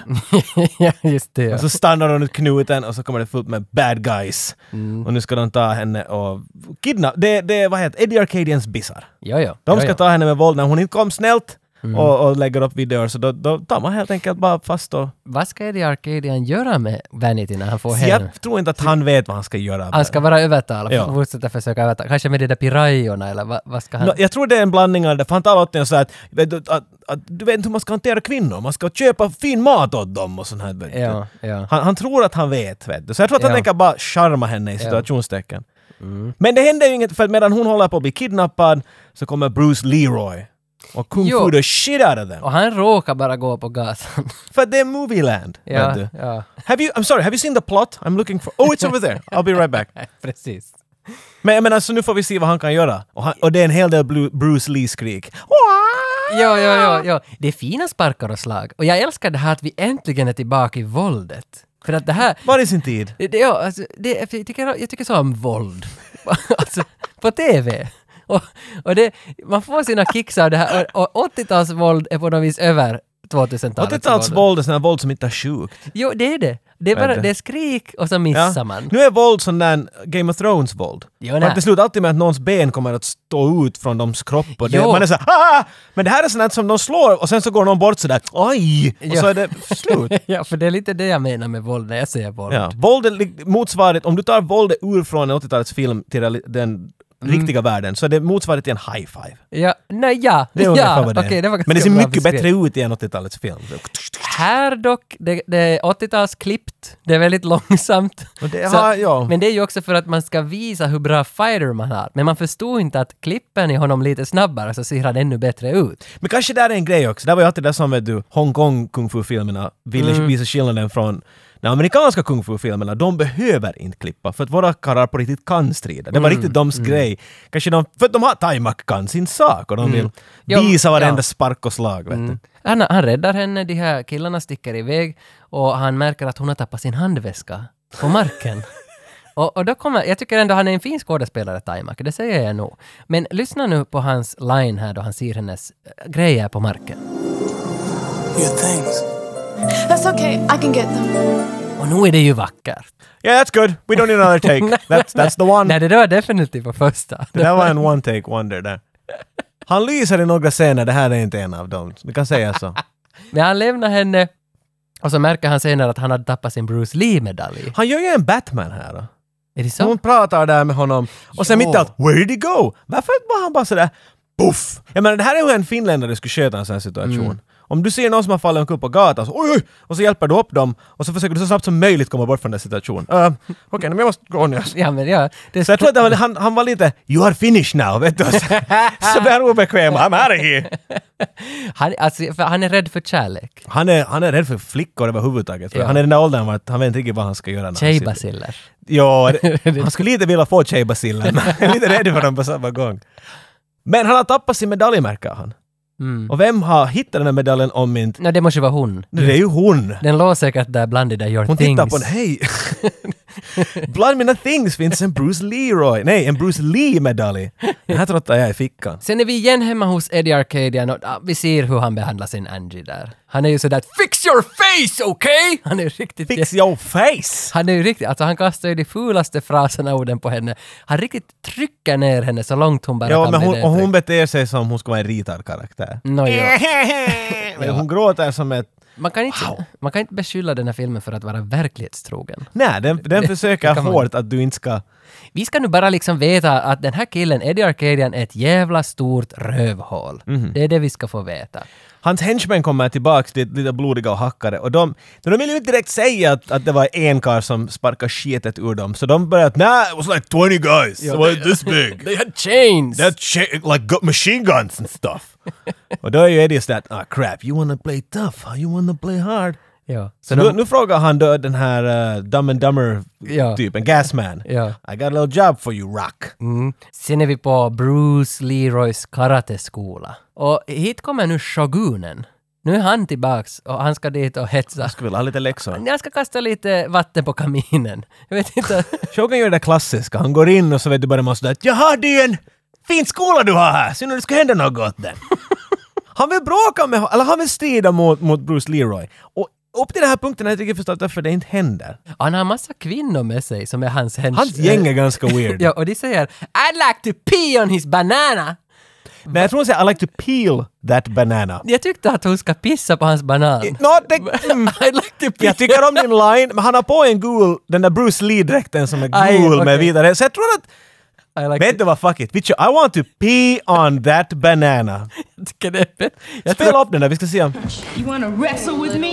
ja, just det. Ja. Och så stannar hon ut knuten och så kommer det fullt med bad guys. Mm. Och nu ska de ta henne och kidnappa. Det, det är vad heter Eddie Arcadians bissar. ja, ja. De ja, ska ja. Mm. ta henne med våld när hon inte kom snällt och, och lägger upp videor. Så då, då tar man helt enkelt bara fast och... Vad ska Eddie Arcadian göra med Vanity när han får Så hem? jag tror inte att han vet vad han ska göra. Han ska vara övertalad, Ja. fortsätta försöka övertala. Kanske med de där pirajorna eller vad, vad ska han... Nå, jag tror det är en blandning av det, för han talar åt den så här att, vet du, att, att, du vet inte hur man ska hantera kvinnor, man ska köpa fin mat åt dem och sånt här. vet du. Ja, ja. Han, han tror att han vet, vet du. Så jag tror att han Ja. Mm. tänker bara charma henne i situationstecken. Men det händer ju inget, för att medan hon håller på att bli kidnappad så kommer Bruce Leroy och kung Jo. fu the shit out of them. Och han råkar bara gå på gatan. För det är Movieland, vet ja, du. ja, Have you, I'm sorry, have you seen the plot? I'm looking for... Oh, it's over there! I'll be right back. precis. Men jag menar, så nu får vi se vad han kan göra. Och, han, och det är en hel del Blu- Bruce Lee-skrik. Ja, ja, ja, ja. Det är fina sparkar och slag. Och jag älskar det här att vi äntligen är tillbaka i våldet. För att det här... Var i sin tid? Det, det- ja, alltså, det, jag, tycker, jag tycker så om våld. alltså, på TV. Och, och det, man får sina kicks av det här. Och, och 80-talsvåld är på något vis över 2000-talet. 80-talsvåld är sån här våld som inte är sjukt. Jo, det är det. Det är bara Vänta. det är skrik och så missar man. Nu är våld sån där Game of Thrones-våld. Jo, Man nej. till slut alltid med att någons ben kommer att stå ut från doms kropp och det, Jo. man är såhär ah! Men det här är sånt här som de slår och sen så går någon bort sådär oj! Och Ja. så är det slut. ja, för det är lite det jag menar med våld när jag säger våld. Ja. Våld är li- motsvarigt, om du tar våldet ur från en 80-talets film till reali- den Mm. riktiga världen så är det motsvarigt till en high five. Ja, nej, ja. Det är ja, ungefär vad det är. okej, var Men det ser ganska bra mycket beskrivet. bättre ut i en 80-talets film. Här dock, det, det är 80-talsklippt, det är väldigt långsamt. Och det har- ja. Men det är ju också för att man ska visa hur bra fighter man har. Men man förstod inte att klippen i honom lite snabbare så ser han ännu bättre ut. Men kanske där är en grej också. Det var ju alltid det som vet du, Hongkong kung fu-filmerna ville Mm. visa skillnaden från de amerikanska kung fu-filmerna. De behöver inte klippa för att våra karlar på riktigt kan strida. Det var Mm, riktigt dems grej. Kanske de, för att de har Taimak kan sin sak och de vill Mm. Ja, visa varenda ja. Mm. spark och slag. Vet du. Han, han räddar henne, de här killarna sticker iväg och han märker att hon har tappat sin handväska på marken. och, och då kommer, jag tycker ändå han är en fin skådespelare, Taimak, det säger jag nog. Men lyssna nu på hans line här då han ser hennes eh, grejer på marken. Your things. That's okay. I can get them. Och nu är det ju vackert. Yeah, that's good. We don't need another take. that's, that's the one. Nej, det där var definitivt på första. Det där var en one take wonder där. Han lyser i några scener, det här är inte en av dem. Vi kan säga så. Men han lämnar henne och så märker han senare att han hade tappat sin Bruce Lee-medalj. Han gör ju en Batman här då. Är det Så så? hon pratar där med honom och sen Ja. mitt i allt, where did he go? Varför var han bara sådär poff? Jag menar det här är hur en finländare skulle sköta en sån här situation. Om du ser någon som har fallit omkull på gatan, så oj, oj! Och så hjälper du upp dem och så försöker du så snabbt som möjligt komma bort från den situationen. Uh, Okej, men jag måste gå nu. Ja, men ja. Det Så jag tror att det var- han, han var lite “You are finished now”, vet du. Så, så blir han obekväm. I'm out of here. han, alltså, för han är rädd för kärlek. Han är, han är rädd för flickor överhuvudtaget. tror jag. Ja. Han är i den där åldern vart han vet inte riktigt vad han ska göra. när han sitter- Tjejbaciller. Ja, det- han skulle lite vilja få tjejbacillen, men jag är lite rädd för dem på samma gång. Men han har tappat sin medalj märker han. Mm. Och vem har hittat den här medaljen om inte... Nej, det måste ju vara hon. Det är ju hon! Den låg säkert där bland de där your Hon things. tittar på den, hej! Bland mina things finns en Bruce Leroy. Nej, en Bruce Lee-medalj. Den här trottar jag i fickan. Sen är vi igen hemma hos Eddie Arcadian och ah, vi ser hur han behandlar sin Angie där. Han är ju sådär “Fix your face, okay?” Han är ju riktigt... Fix your face! Han är ju riktigt, alltså han kastar ju de fulaste fraserna och orden på henne. Han riktigt trycker ner henne så långt hon bara Ja, kan men bli hon, och hon nedtryckt. beter sig som hon ska vara en ritad karaktär. Nå, ja. Men Hon gråter som ett... man, kan inte, man kan inte beskylla den här filmen för att vara verklighetstrogen. Nej, den, den försöker kan man- hårt att du inte ska... Vi ska nu bara liksom veta att den här killen, Eddie Arcadian, är ett jävla stort rövhål. Mhm. Det är det vi ska få veta. Hans henchmen kommer tillbaks, lite, lite blodiga och hackade. Och de, de vill ju inte direkt säga att, att det var en karl som sparkade skitet ur dem. Så de började att nej, it was like 20 guys. it was this big. They had chains! That shit, like got machine guns and stuff. och då är ju Eddie sådär, ah crap, you wanna play tough, you wanna play hard. ja. Så Så nu, de, nu frågar han då den här uh, Dumb and Ja. Dummer-typen, Gasman. Ja. I got a little job for you, Rock. Sen är Mm. vi på Bruce Leroys karateskola. Och hit kommer nu shogunen. Nu är han tillbaks och han ska dit och hetsa. Ska väl ha lite läxor. Jag ska kasta lite vatten på kaminen. Jag vet inte. Shogun gör det klassiska, han går in och så vet du bara man sådär att ”Jaha, det är ju en fin skola du har här, synd om det ska hända något åt den”. han vill bråka med eller han vill strida mot, mot Bruce Leroy. Och upp till den här punkten har jag inte riktigt förstått varför det inte händer. Han har massa kvinnor med sig som är hans hench... Hans gäng är ganska weird. Eh, Ja, och de säger “I'd like to pee on his banana”. Men jag tror hon säger “I like to peel that banana”. Jag tyckte att hon ska pissa på hans banan. Nå, det, mm. I'd like to pee Jag tycker om din line, men han har på en gul, den där Bruce Lee-dräkten som är Aj, gul okej. med vidare. Så jag tror att, I like vet du vad, fuck it. Vi kör, I want to pee on that banana. to tycker det är fett. Jag tror- Spela upp den där, vi ska se om... You want to wrestle with me?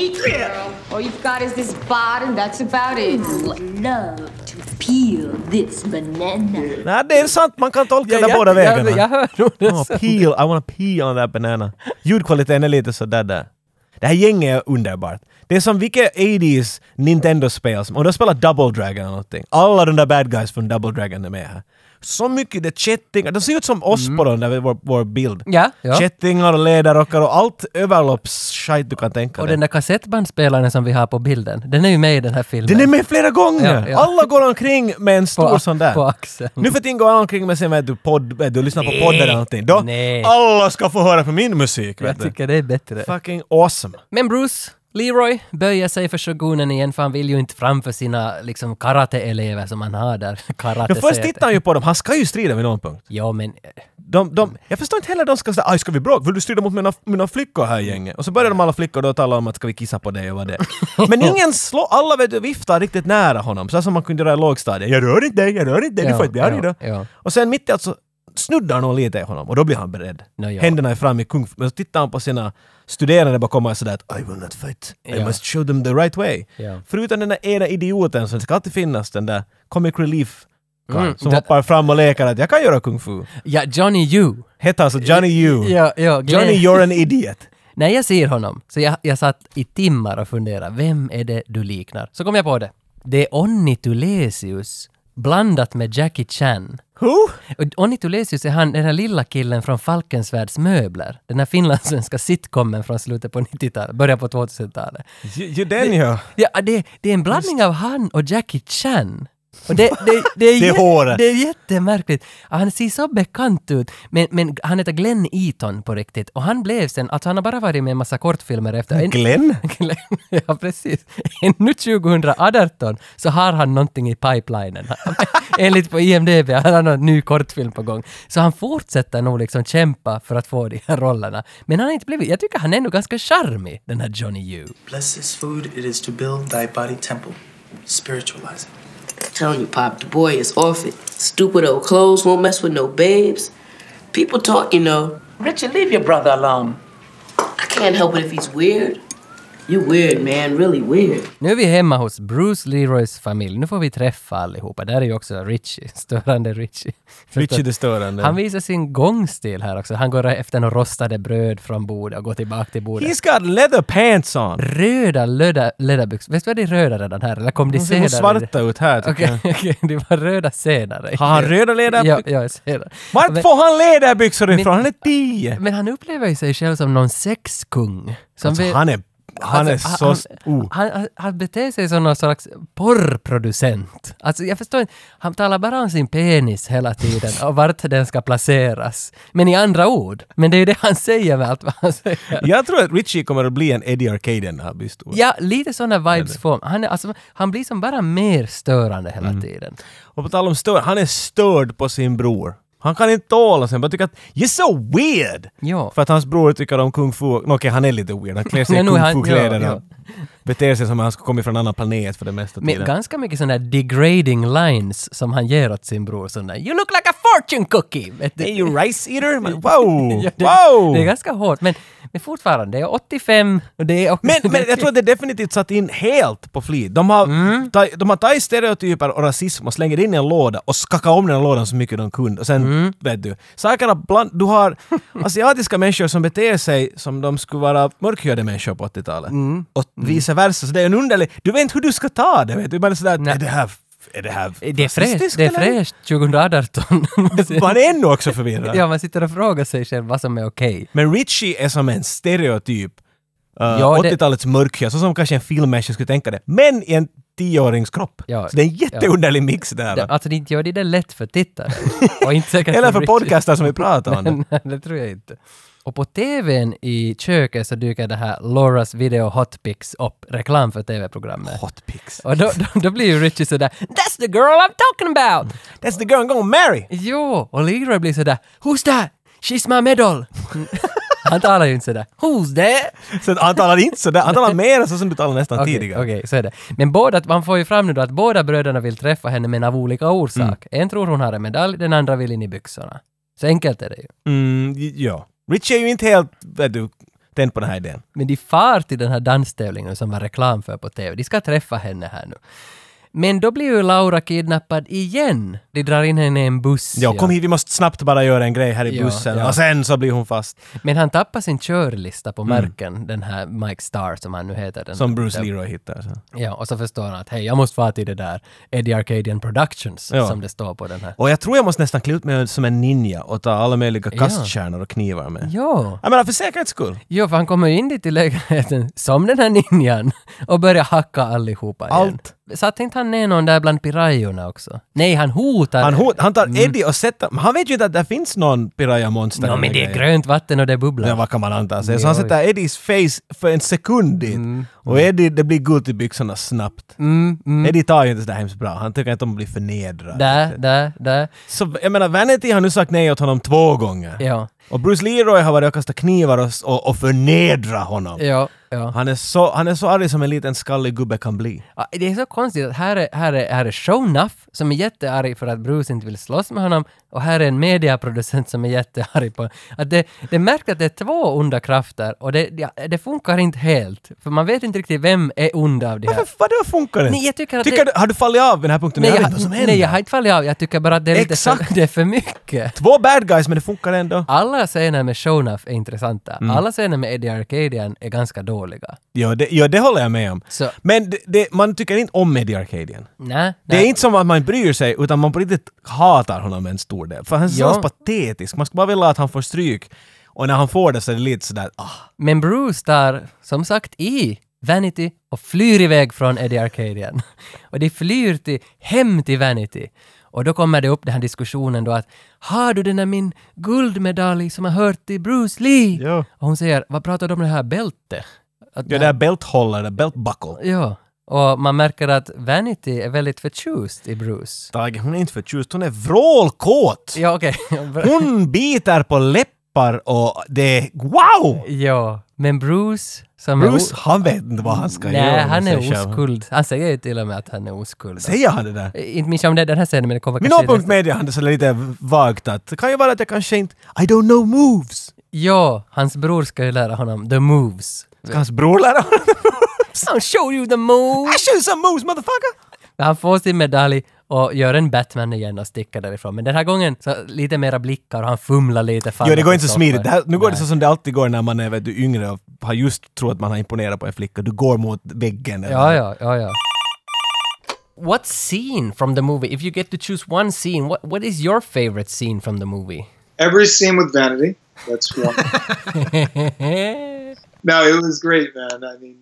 All you've got is this bod, and that's about it. Love to peel this banana. Nej, det är sant, man kan tolka det jag- båda jag- vägarna. Jag hör nog det I wanna som- peel, I wanna pee on that banana. Ljudkvaliteten är lite sådär där. Det här gänget är underbart. Det är som vilket 80s Nintendo-spel som... Om du spelar Double Dragon eller någonting. Alla de där bad guys från Double Dragon är med här. Så mycket det är kättingar. De ser ut som oss på den där, vår, vår bild. Mm. Ja, ja. Kättingar och läderrockar och allt överloppsskit du kan tänka Och dig. den där kassettbandspelaren som vi har på bilden, den är ju med i den här filmen. Den är med flera gånger! Ja, ja. Alla går omkring med en stor På- sån där. på axeln. Nu för tiden går alla omkring med sin, vet du, podd, vet du lyssnar på poddar eller någonting. Då, Nej. alla ska få höra på min musik, vet Jag du. tycker det är bättre. Fucking awesome. Men Bruce Leroy böjer sig för shogunen igen för han vill ju inte framför sina liksom karateelever som han har där. Karate Ja, först tittar han ju på dem, han ska ju strida vid någon punkt. Ja men... eh, De, de, jag förstår inte heller de ska säga aj ska vi bråka? Vill du strida mot mina, mina flickor här gänget? Och så börjar de alla flickor då tala om att ska vi kissa på dig och vad det är. Men ingen slår, alla vet du viftar riktigt nära honom, så här som man kunde göra i lågstadiet. Jag rör inte dig, jag rör inte dig, Ja, du får inte bli arg ja, då. ja. Och sen mitt i allt så snuddar någon lite i honom och då blir han beredd. Nå, ja. Händerna är fram i kung Men så tittar han på sina studerande bakom och är sådär att I will not fight, I Ja. must show them the right way. Ja. Förutom den där ena idioten, så det ska alltid finnas den där comic relief Mm, som det- hoppar fram och leker att jag kan göra kung fu. Ja, Johnny You. Hette alltså Johnny You. Ja, ja, Glenn- Johnny, you're an idiot. När jag ser honom, så jag, jag satt i timmar och funderade, vem är det du liknar? Så kom jag på det. Det är Onni Tulesius blandat med Jackie Chan. Who? Och Onni Tulesius är han, den här lilla killen från Falkensvärds möbler. Den här finlandssvenska sitcomen från slutet på 90-talet, början på 2000-talet. Ju den ja. Ja, det, det är en blandning av han och Jackie Chan. Och det, det, det, är Det är jä- håret. Det är jättemärkligt. Han ser så bekant ut, men, men han heter Glenn Eaton på riktigt. Och han blev sen, alltså han har bara varit med i en massa kortfilmer efter. En- Glenn? Glenn, ja precis. Ännu 2018 så har han någonting i pipelinen. Enligt på IMDB, han har någon ny kortfilm på gång. Så han fortsätter nog liksom kämpa för att få de här rollerna. Men han har inte blivit, jag tycker han är ändå ganska charmig, den här Johnny Yu. Bless this food, it is to build thy body temple. Spiritualize it. Telling you, Pop, the boy is off it. Stupid old clothes won't mess with no babes. People talk, you know. Richard, leave your brother alone. I can't help it if he's weird. You weird, man, really weird. Nu är vi hemma hos Bruce Leroys familj. Nu får vi träffa allihopa. Där är ju också Richie, störande Richie. Richie det störande. Han visar sin gångstil här också. Han går efter några rostade bröd från bordet och går tillbaka till bordet. He's got leather pants on. Röda löda, läderbyxor. Vet du vad de är röda redan här? Eller kom de De ser nog senare? svarta ut här tycker Okej, jag. okej, de var röda senare. Har han röda Ja, läderbyxor? ja, jag ser det. Vart Men- får han läderbyxor ifrån? Han är tio! Men han upplever ju sig själv som någon sexkung. Som Alltså, vill- han är Han är Alltså, så... st- oh. han, han, han beter sig som någon slags porrproducent. Alltså jag förstår inte, han talar bara om sin penis hela tiden och vart den ska placeras. Men i andra ord. Men det är ju det han säger med allt vad han säger. Jag tror att Richie kommer att bli en Eddie Arcade när han blir stor. Ja, lite sådana vibes får han. är Alltså, han blir som bara mer störande hela Mm. tiden. Och på tal om störd, han är störd på sin bror. Han kan inte tåla sig, bara tycker att “You're so weird!” Ja. För att hans bror tycker om kung fu. Nå, Okej, han är lite weird. Han klär sig i Men nu är kung han- fu-kläder ja, och beter sig som om han skulle kommit från en annan planet för det mesta Med tiden. ganska mycket sådana där degrading lines som han ger åt sin bror. Sådana där, “You look like a fortune cookie!” Vet du? Är you rice eater? Men, wow! Ja, det, wow! det är ganska hårt, men, men fortfarande, det är 85 och det är också... Men, men jag tror att det är definitivt satt in helt på flit. De har, Mm. ta, de har tagit stereotyper och rasism och slänger in i en låda och skakat om den här lådan så mycket de kunde. Och sen, Mm. vet du, sakerna bland... Du har asiatiska människor som beter sig som de skulle vara mörkhyade människor på 80-talet. Mm. Och vice versa. Så det är en underlig... Du vet inte hur du ska ta det, vet du. Man är sådär, är det här... Är det här det är fräscht, rasistiskt det är eller? fräscht 2018. Man är ännu också förvirrad. ja, man sitter och frågar sig själv vad som är okej. Men Richie är som en stereotyp. Uh, Ja, det- 80-talets mörkhyad, så alltså som kanske en filmmänniska skulle tänka det. Men i en tioårings kropp. Ja, så det är en jätteunderlig mix där. Det- Alltså, det inte gör det det lätt för tittaren. Och inte säkert Eller för Richard. podcaster som vi pratar om. det. Nej, det tror jag inte. Och på TVn i köket så dyker det här Lauras video hotpics upp, reklam för TV-programmet. Hot pics. Och då, då, då blir ju Richie sådär “That's the girl I'm talking about!” That's the girl I'm gonna marry! Jo, och Leroy blir sådär “Who's that? She's my medal!” Mm. Han talar ju inte sådär “Who's that?” Så att han talar inte sådär, han talar mer så som du talade nästan Okej, tidigare. Okej, så är det. Men båda, man får ju fram nu då att båda bröderna vill träffa henne men av olika orsak. Mm. En tror hon har en medalj, den andra vill in i byxorna. Så enkelt är det ju. Mm, j- ja. Richie är ju inte helt, vet du, tänd på den här idén. Men de far till den här danstävlingen som var reklam för på TV. De ska träffa henne här nu. Men då blir ju Laura kidnappad igen. De drar in henne i en buss. Ja, kom hit, vi måste snabbt bara göra en grej här i Ja, bussen. ja. Och sen så blir hon fast. Men han tappar sin körlista på marken, den här Mike Starr som han nu heter. Den, Mm. Som Bruce den- Leroy hittar. Så. Ja, och så förstår han att hej, jag måste fara till det där Eddie Arcadian Productions Ja. som det står på den här. Och jag tror jag måste nästan klä ut mig som en ninja och ta alla möjliga kastkärnor och knivar med. Ja. Jag menar för säkerhets skull. Jo, för han kommer ju in dit i lägenheten som den här ninjan och börjar hacka allihopa igen. Allt. Satt inte han ner någon där bland pirajorna också? Nej, han hotar. Han, hot, han tar Mm. Eddie och sätter... Men han vet ju inte att det finns någon piraya-monster. Nå, eller men det är grejer. grönt vatten och det bubblar. Ja, vad kan man anta sig? Så han Ja, Mm. sätter Eddies face för en sekund dit. Och Eddie, det blir gult i byxorna snabbt. Eddie tar ju inte sådär hemskt bra. Han tycker inte om att bli förnedrad. Där, där, där. Så jag menar, Vanity har nu sagt nej åt honom två gånger. Ja, Och Bruce Leroy har varit och kastat knivar och, och, och förnedrat honom. ja, ja. Han, är så, han är så arg som en liten skallig gubbe kan bli. Ja, Det är så konstigt att här är, här är, här är Shownuff som är jättearg för att Bruce inte vill slåss med honom och här är en mediaproducent som är jättearg på att det, det märks att det är två onda krafter och det, ja, det funkar inte helt. För man vet inte riktigt vem är ond av de här. Varför, vadå funkar det? Nej, jag tycker att du, det- har du fallit av vid den här punkten? Nej, jag vet jag, inte vad som händer. nej, jag har inte fallit av. Jag tycker bara att det är, lite för, Exakt. det är för mycket. Två bad guys, men det funkar ändå. Alla scener med Shownuff är intressanta. Mm. Alla scener med Eddie Arcadian är ganska dåliga. Ja, det, ja, det håller jag med om. Så- Men det, det, man tycker inte om Eddie Arcadian. Nej, Det är inte som att man bryr sig, utan man på riktigt hatar honom en stor del. För han är Ja. så patetisk. Man skulle bara vilja att han får stryk. Och när han får det så är det lite sådär, ah. Men Bruce tar, som sagt, i Vanity och flyr iväg från Eddie Arcadian. Och de flyr till, hem till Vanity. Och då kommer det upp den här diskussionen då att har du den där min guldmedalj som jag hört till Bruce Lee? Ja. Och hon säger, vad pratar du om det här bältet? Att Ja, det där bälthållare, belt buckle. Ja. Och man märker att Vanity är väldigt förtjust i Bruce. Tage, hon är inte förtjust, hon är vrålkåt! Ja, okej. Hon biter på läppar och det är wow! ja, men Bruce som Bruce, är... o- han vet inte vad han ska göra. Nej, med han sig är själv. oskuld. Han säger ju till och med att han är oskuld. Säger han det där? Eh, Inte minns jag om det är den här scenen, men det kommer Min kanske... i åpunkt nästa- med det han är lite vagt att det kan ju vara att jag kanske inte... I don't know moves! Ja, hans bror ska ju lära honom the moves. Ska hans bror lära honom? I'll show you the moves! I shoot some moves motherfucker! Han får sin medalj och gör en Batman igen och sticker därifrån. Men den här gången så lite mera blickar och han fumlar lite. Jo, faller det går på inte så stoppar. smidigt. Det här, nu går det Nej. så som det alltid går när man är vet du, yngre och har just tror att man har imponerat på en flicka. Du går mot väggen. eller- Ja, ja, ja, ja. What scene from the movie? If you get to choose one scene, what, what is your favorite scene from the movie? Every scene with Vanity. That's one. no, it was great, man. I mean,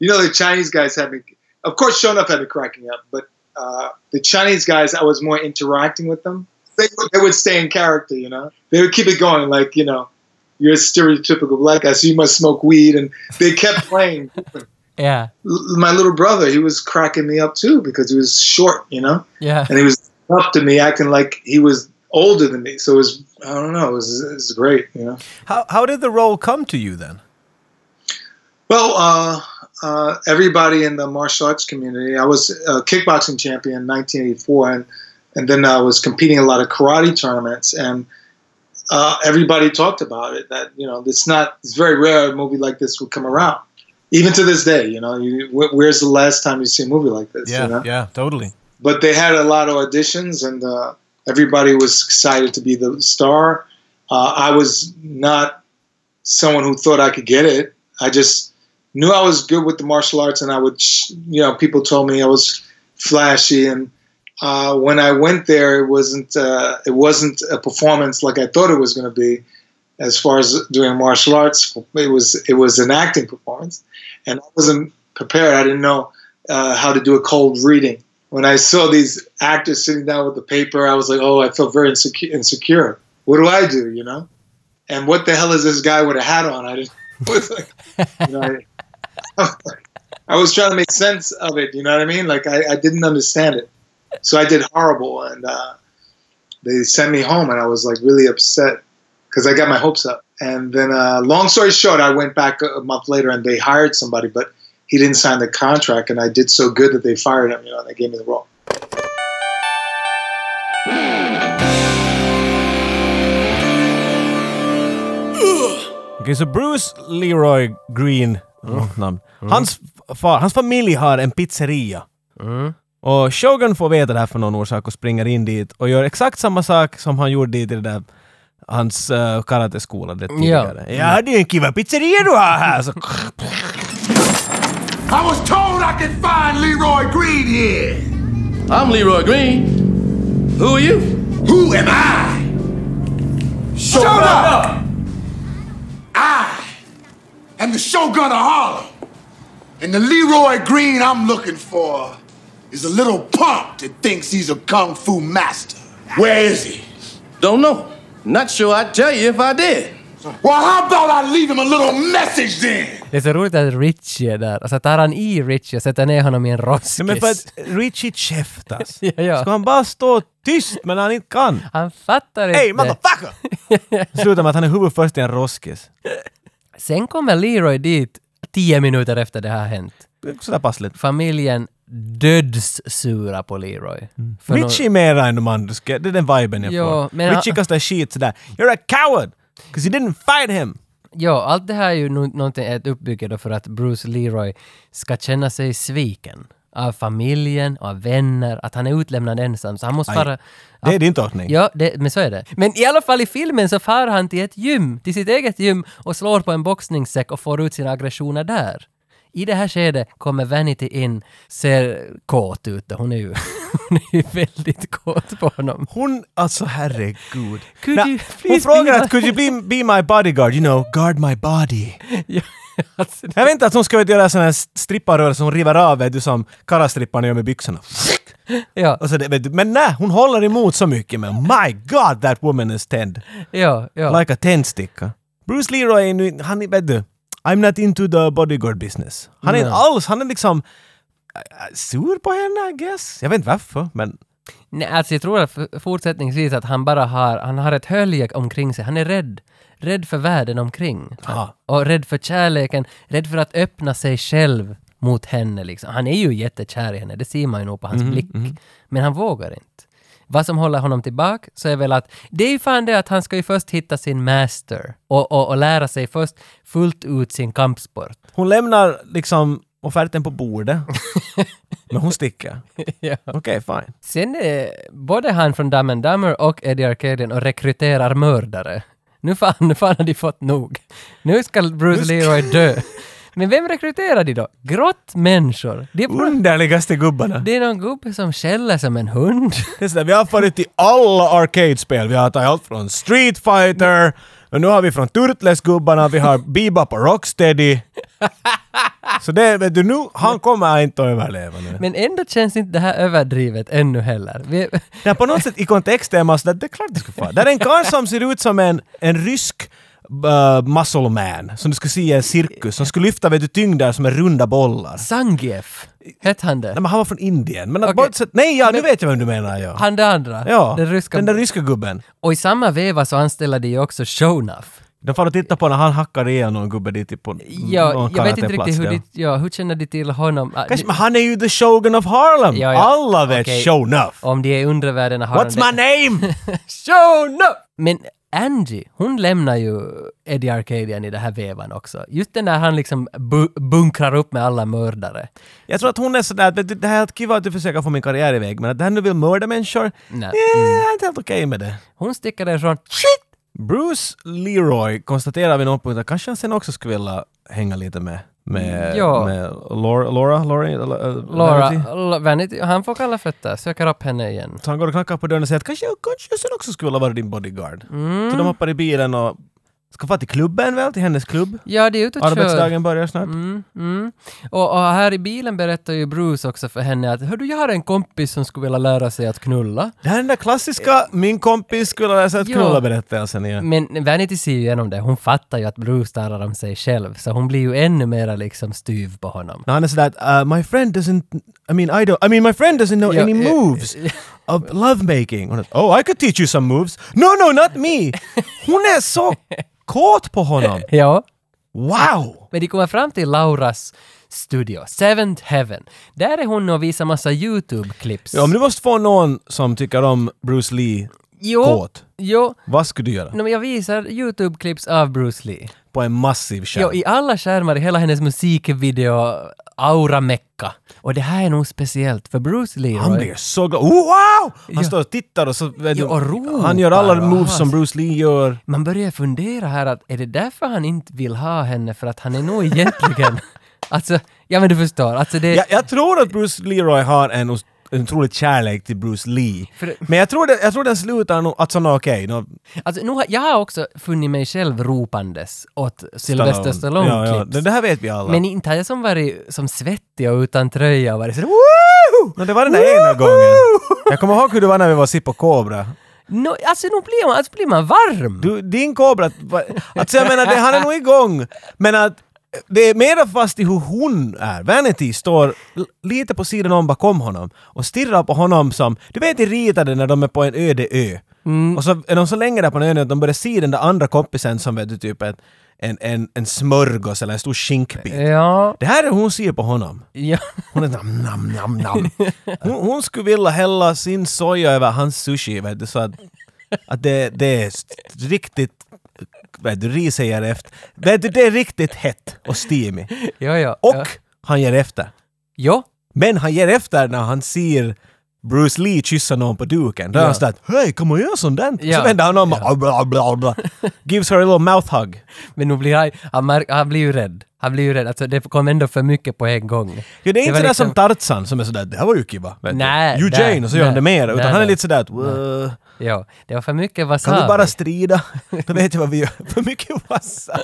you know, the Chinese guys had me. Of course, shown up had me cracking up, but uh, the Chinese guys, I was more interacting with them. They, would- they would stay in character, you know. They would keep it going, like you know, you're a stereotypical black guy, so you must smoke weed, and they kept playing. Yeah, L- My little brother, he was cracking me up too because he was short, you know, yeah. and he was up to me acting like he was older than me. So it was, I don't know, it was, it was great, you know. How, how did the role come to you then? Well, uh, uh, everybody in the martial arts community. I was a kickboxing champion in 1984, and and then I was competing in a lot of karate tournaments, and uh, everybody talked about it. That you know, it's not. It's very rare a movie like this would come around, even to this day. You know, you, wh- where's the last time you see a movie like this? you know? yeah, totally. but they had a lot of auditions and uh, everybody was excited to be the star. Uh, I was not someone who thought I could get it. I just knew I was good with the martial arts, and I would, sh- you know, people told me I was flashy. And uh, when I went there, it wasn't uh, it wasn't a performance like I thought it was going to be. As far as doing martial arts, it was it was an acting performance, and I wasn't prepared. I didn't know uh, how to do a cold reading when I saw these actors sitting down with the paper, I was like, oh, I felt very insecure. insecure. What do I do, you know? And what the hell is this guy with a hat on? I didn't. Was like, you know, I, I was trying to make sense of it. You know what I mean? Like I, I didn't understand it, so I did horrible, and uh, they sent me home, and I was like really upset because I got my hopes up. And then, uh, long story short, I went back a a month later, and they hired somebody, but he didn't sign the contract, and I did so good that they fired him. You know, and they gave me the role. Okej, så Bruce Leroy Green, långt namn. Hans f- far, hans familj har en pizzeria. Och Shogun får veta det här för någon orsak och springer in dit och gör exakt samma sak som han gjorde dit i det där hans uh, karateskola det tidigare. Ja, det är en kiva pizzeria du har här! alltså. Så, I was told I could find Leroy Green here. I'm Leroy Green. Who are you? Who am I? Shogun! I am the Shogun of Harlem. And the Leroy Green I'm looking for is a little punk that thinks he's a kung fu master. Where is he? Don't know. Not sure I'd tell you if I did. Well, how about I leave him a little message then? Det är så roligt att Richie är där. Alltså tar han i Richie och sätter ner honom i en roskis. ja, men för att Richie käftas. Ja, ja. Eh, Ska han bara stå tyst men han inte kan? Han fattar inte. Hey motherfucker! Slutar med att han är huvud först i en roskis. Sen kommer Leroy dit tio minuter efter det har hänt. Sådär passligt. Familjen dödssura på Leroy. Mm. För nå- Richie är mera än de andra, ska- det är den viben jag Jo, får. men Richie han- kastar skit sådär “You're a coward! Because you didn't fight him!” Ja, allt det här är ju nu- någonting, ett uppbygge då för att Bruce Leroy ska känna sig sviken av familjen, av vänner, att han är utlämnad ensam. Så han måste Aj. fara... Det är din tolkning. Ja, det, men så är det. Men i alla fall i filmen så far han till ett gym, till sitt eget gym och slår på en boxningssäck och får ut sina aggressioner där. I det här skedet kommer Vanity in, ser kåt ut då. hon är ju, hon är ju väldigt kåt på honom. Hon, alltså herregud. Could Nä, you hon please frågar be att my- “Could you be, be my bodyguard?” You know, guard my body. Ja, alltså, Jag väntar att hon ska göra sån här stripparrörelse som hon river av vet du som karastripparna gör med byxorna. ja, Och så det, vet du. Men nej, hon håller emot så mycket men my god that woman is tend. ja, ja. Like a tändsticka. Bruce Leroy är nu, han är, vet du, I'm not into the bodyguard business. Han är inte alls, han är liksom äh, sur på henne I guess. Jag vet inte varför men Nej, alltså jag tror att f- fortsättningsvis att han bara har, han har ett hölje omkring sig. Han är rädd. Rädd för världen omkring. Aha. Och rädd för kärleken. Rädd för att öppna sig själv mot henne liksom. Han är ju jättekär i henne, det ser man ju nog på hans blick. Men han vågar inte. Vad som håller honom tillbaka så är väl att det är ju fan det att han ska ju först hitta sin master och, och, och lära sig först fullt ut sin kampsport. hon lämnar liksom offerten på bordet. men hon sticker. ja. Okej, fine. Sen är både han från Dumb and Dumber och Eddie Arcadian och rekryterar mördare. Nu fan, nu fan har de fått nog. Nu ska Bruce Leroy dö. Men vem rekryterar de då? Grottmänniskor. Det är, pro- Underligaste gubbarna. det är någon gubbe som skäller som en hund. Det är sådär, vi har farit till alla arcade-spel. Vi har tagit allt från Street Fighter Och nu har vi från Turtles-gubbarna, vi har Bebop och Rocksteady. Så det, vet du nu, han kommer inte att överleva nu. Men ändå känns inte det här överdrivet ännu heller. Vi, Ja, på något sätt i kontexten är man sådär, det är klart det ska fara. Där är en karl som ser ut som en, en rysk uh, muscle man, som du skulle se i en cirkus, som skulle lyfta vet du, tyngder som är runda bollar. Zangief, hette han det? Nej, men han var från Indien. Men att Okej. bortsett, nej, ja, nu vet jag vem du menar. Ja. Han det andra? ja, Den ryska. den där ryska gubben. Och i samma veva så anställde de ju också Shonuff. De får och titta på när han hackar ihjäl någon gubbe dit på Ja, någon jag vet inte riktigt Mm, karateplats, hur, ja. de, ja, hur känner de till honom? Ah, Kanske, de, men han är ju the shogun of Harlem! Ja, ja. Alla vet Okej. Shonuff! om de är i undervärlden har What's my name? Shonuff! Men Angie, hon lämnar ju Eddie Arcadian i den här vevan också. Just den där han liksom bu- bunkrar upp med alla mördare. jag tror att hon är sådär att vet du, det här är kiva att du försöker få min karriär iväg men att det här nu vill mörda människor? eh, Nej. Mm. Jag är inte helt okej med det. Hon sticker därifrån. Shit! Bruce Leroy konstaterar vid någon punkt att kanske han sen också skulle vilja hänga lite med, med, Mm, Ja. med Laura, Laura, Laura, eh, Laura, Laverty. L- Vanity, han får kalla fötter, söker upp henne igen. Så han går och knackar på dörren och säger att kanske, jag- kanske jag sen också skulle vilja vara din bodyguard. Mm. Så de hoppar i bilen och ska få till klubben väl, till hennes klubb. Ja, det är ute och kör. Arbetsdagen börjar snart. Mm, mm. Och, och här i bilen berättar ju Bruce också för henne att Hördu, jag har en kompis som skulle vilja lära sig att knulla. Det här är den där klassiska min kompis skulle lära sig att Ja. knulla berättelsen igen. Men Vanity ser ju igenom det. Hon fattar ju att Bruce talar om sig själv, så hon blir ju ännu mera liksom styv på honom. När han är sådär att uh, my friend doesn't, I mean I don't, I mean my friend doesn't know Ja, any ja, moves of lovemaking. Hon är, oh I could teach you some moves. No no not me! Hon är så kåt på honom. Ja. Wow! Men de kommer fram till Lauras studio, Seventh Heaven. Där är hon och visar massa YouTube-klipps. Ja, om du måste få någon som tycker om Bruce Lee jo, kåt, jo. vad skulle du göra? No, men jag visar YouTube-klipps av Bruce Lee. På en massiv skärm. Jo, i alla skärmar i hela hennes musikvideo, aura mecka. Och det här är nog speciellt, för Bruce Lee... Han blir så glad. Oh, wow! Han står och tittar och så... Vet du, Ja, och ropar han gör alla och moves har som sig. Bruce Lee gör. Man börjar fundera här att är det därför han inte vill ha henne för att han är nog egentligen... alltså, ja men du förstår, alltså det... Jag, jag tror att Bruce Leroy har en, os- en otrolig kärlek till Bruce Lee. För- Men jag tror, det, jag tror den slutar nog att sådana okej. nå- Alltså, nu har, jag har också funnit mig själv ropandes åt Sylvester Stallone Ja, ja, klipps. det, det här vet vi alla. Men inte har jag som varit som svettig och utan tröja och varit sådär Woo! Nå, det var den där ena gången. Jag kommer ihåg hur det var när vi var och sitt på Cobra. no, Alltså nu blir man, alltså, blir man varm! Du, din Cobra... va- Alltså jag menar, det, han är nog igång. Men att det är mera fast i hur hon är. Vanity står l- lite på sidan om bakom honom och stirrar på honom som... Du vet i ritade när de är på en öde ö. Och så är de så länge där på en ö nu att de börjar se den där andra kompisen som vet du typ en, en, en, en smörgås eller en stor skinkbit. Eh. Ja, Det här är hur hon ser på honom. ja. Hon är såhär nam, nam, nam. Hon, hon skulle vilja hälla sin soja över hans sushi, vet du, så att, att det, det är st- riktigt vet du, riset ger efter. Vet du, det är riktigt hett och steamy. ja, ja. Och ja. han ger efter. ja. Men han ger efter när han ser Bruce Lee kyssa någon på duken. Då är Ja. han sådär hej, kan man göra sånt där? Ja. Så vänder han om och bla, bla, bla. Gives her a little mouth hug. Men nu blir han, han, märk, han blir ju rädd. Han blir ju rädd. Alltså det kom ändå för mycket på en gång. Ja, det är Det inte var sådär liksom- som Tarzan som är sådär det här var ju kiva. vet du. Nej, Eugene nej, och så gör han nej. det mer. Utan Nej, han är nej. lite sådär att "Wah." Ja, det var för mycket wasabi. Kan vi bara strida? Då vet jag vad vi gör. För mycket massa.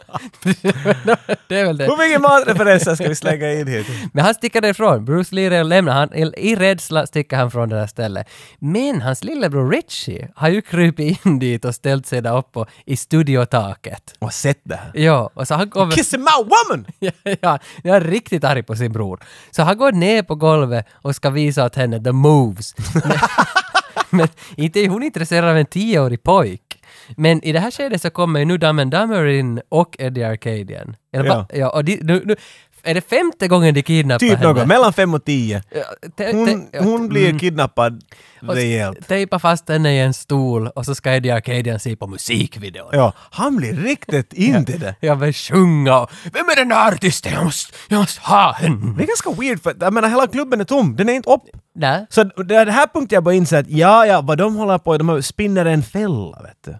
det är väl det. Hur mycket matreferenser ska vi slänga in hit? Men han sticker därifrån. Bruce Lee lämnar han. I- I rädsla sticker han från det här stället. Men hans lillebror Richie har ju krupit in dit och ställt sig där uppe i studiotaket. Och sett det här. Ja, och så han kommer... Kissing my woman! ja, ja, jag är riktigt arg på sin bror. Så han går ner på golvet och ska visa åt henne the moves. Men, men inte är hon intresserad av en tioårig pojk. Men i det här skedet så kommer ju nu Dumb and Dumber in och Eddie Arcadian. Eller va? Ja. och de, nu, nu, är det femte gången de kidnappar Typ henne? något, mellan fem och tio. Eh, Ja, te- Hon, te- hon blir kidnappad och s- rejält. Tejpa fast henne i en stol och så ska Eddie Arcadian se på musikvideon. Ja, han blir riktigt in i det. Jag vill sjunga och Vem är den här artisten? Jag måste, jag måste ha henne! Det är ganska weird för att, jag menar hela klubben är tom, den är inte upp. Nej. Så det är det här punkten jag börjar inse att ja, ja, vad de håller på de spinner en fälla vet du.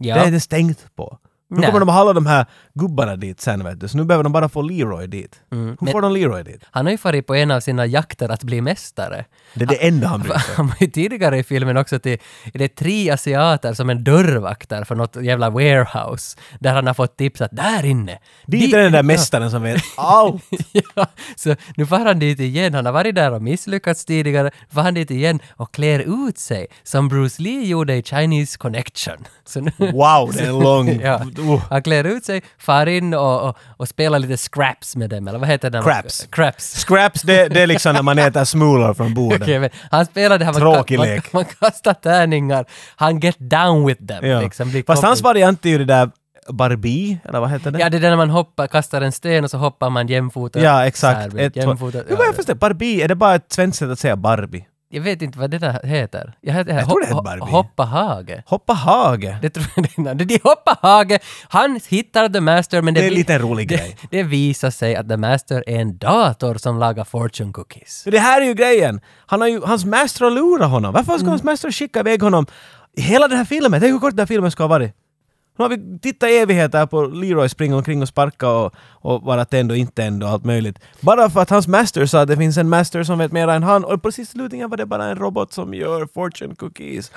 Ja. Det är det stängt på. Nu Nej. kommer de att ha alla de här gubbarna dit sen vet du, så nu behöver de bara få Leroy dit. Hur Mm. men- får de Leroy dit? Han har ju farit på en av sina jakter att bli mästare. Det är det enda han bryr sig om. Han var ju tidigare i filmen också till, det är tre asiater som en dörrvaktar för något jävla warehouse. Där han har fått tips att där inne. Dit är den där mästaren som vet allt. ja, så nu far han dit igen. Han har varit där och misslyckats tidigare. Nu far han dit igen och klär ut sig som Bruce Lee gjorde i Chinese Connection. Så nu, Wow, det är en lång... ja, Uh. han klär ut sig, far in och, och, och spelar lite scraps med dem, eller vad heter det? Craps. Craps. Scraps, det, det är liksom när man äter smulor från bordet. Okej, men han spelar det här, man, Tråkig man, man, lek. man kastar tärningar, han get down with them. Ja. Liksom, blir Fast hans kompis. variant är ju det där Barbie, eller vad heter det? Ja, det är där när man hoppar, kastar en sten och så hoppar man jämfota. Ja, så här exakt. med Ett, två. jämfota, Nu börjar jag förstå. Barbie, är det bara ett svenskt sätt att säga Barbie? Jag vet inte vad det där heter. Jag, heter, Jag tror det heter Barbie. Hoppa hage. Hoppa hage. Det tror jag det är. Det är Hoppa hage! Han hittar The Master men det, Det är vi- lite en rolig det, grej. det visar sig att The Master är en dator som lagar fortune cookies. För det här är ju grejen. Han har ju, hans master har lurat honom. Varför ska hans master skicka iväg honom? Hela den här filmen, tänk hur kort den här filmen ska ha varit. Nu har vi tittat i evigheter på Leroy springa omkring och sparka och, och vara tänd och inte tänd och allt möjligt. Bara för att hans master sa att det finns en master som vet mer än han och precis i slutningen var det bara en robot som gör fortune cookies.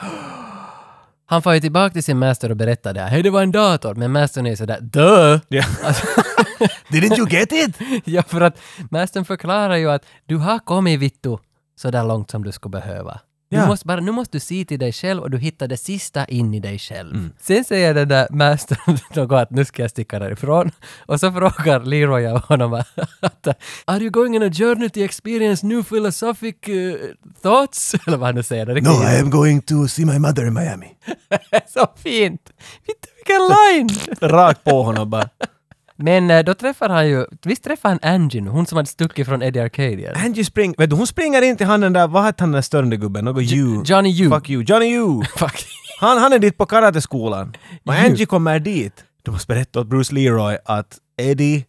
Han får ju tillbaka till sin Master och berättar det här. Hej, det var en dator! Men Mastern är ju sådär dö! Alltså, Ja. Didn't you get it? Ja, för att Mastern förklarar ju att du har kommit Vittu så där långt som du skulle behöva. Du Ja. måste bara, nu måste du se till dig själv och du hittar det sista in i dig själv. Sen säger den där mastern något att nu ska jag sticka därifrån. Och så frågar Leroy av honom att Are you going on a journey to experience new philosophic eh, thoughts? Eller vad han nu säger. Det är am going to see my mother in Miami. så fint! Vittu vilken line! Rakt på honom bara. Men eh, då träffar han ju, visst träffar han Angie nu, hon som hade stuckit från Eddie Arcadia? Angie spring, vet du, hon springer in till han den där, vad hette han den där störande gubben? Något you. Johnny U. Fuck you. Johnny U. Fuck. Han, han är dit på karateskolan. Och Angie kommer dit. Du måste berätta åt Bruce Leroy att Eddie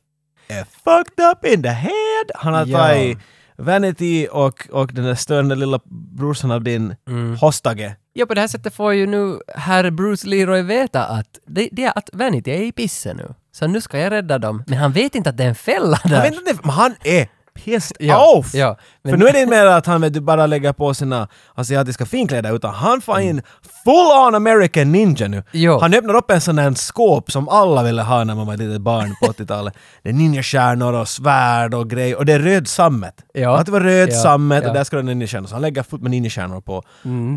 är fucked up in the head. Han har Ja. tagit Vanity och, och den där störande lilla brorsan av din hostage. Ja, på det här sättet får ju nu herr Bruce Leroy veta att det, det är att Vanity är i pissen nu. Så nu ska jag rädda dem. Men han vet inte att det är en fälla där. Jag vet inte, men han är pissed Ja, off! ja, men- För nu är det inte mer att han vet, du bara lägger på sina asiatiska finkläder utan han får in full on American ninja nu. Mm. Jo. Han öppnar upp en sån där skåp som alla ville ha när man var ett litet barn på 80-talet. Det är ninjastjärnor och svärd och grejer och det är röd sammet. Ja. Att det var röd Ja, sammet ja. Mm. och där ska det vara ninjastjärnor. Så han lägger fullt med ninjastjärnor på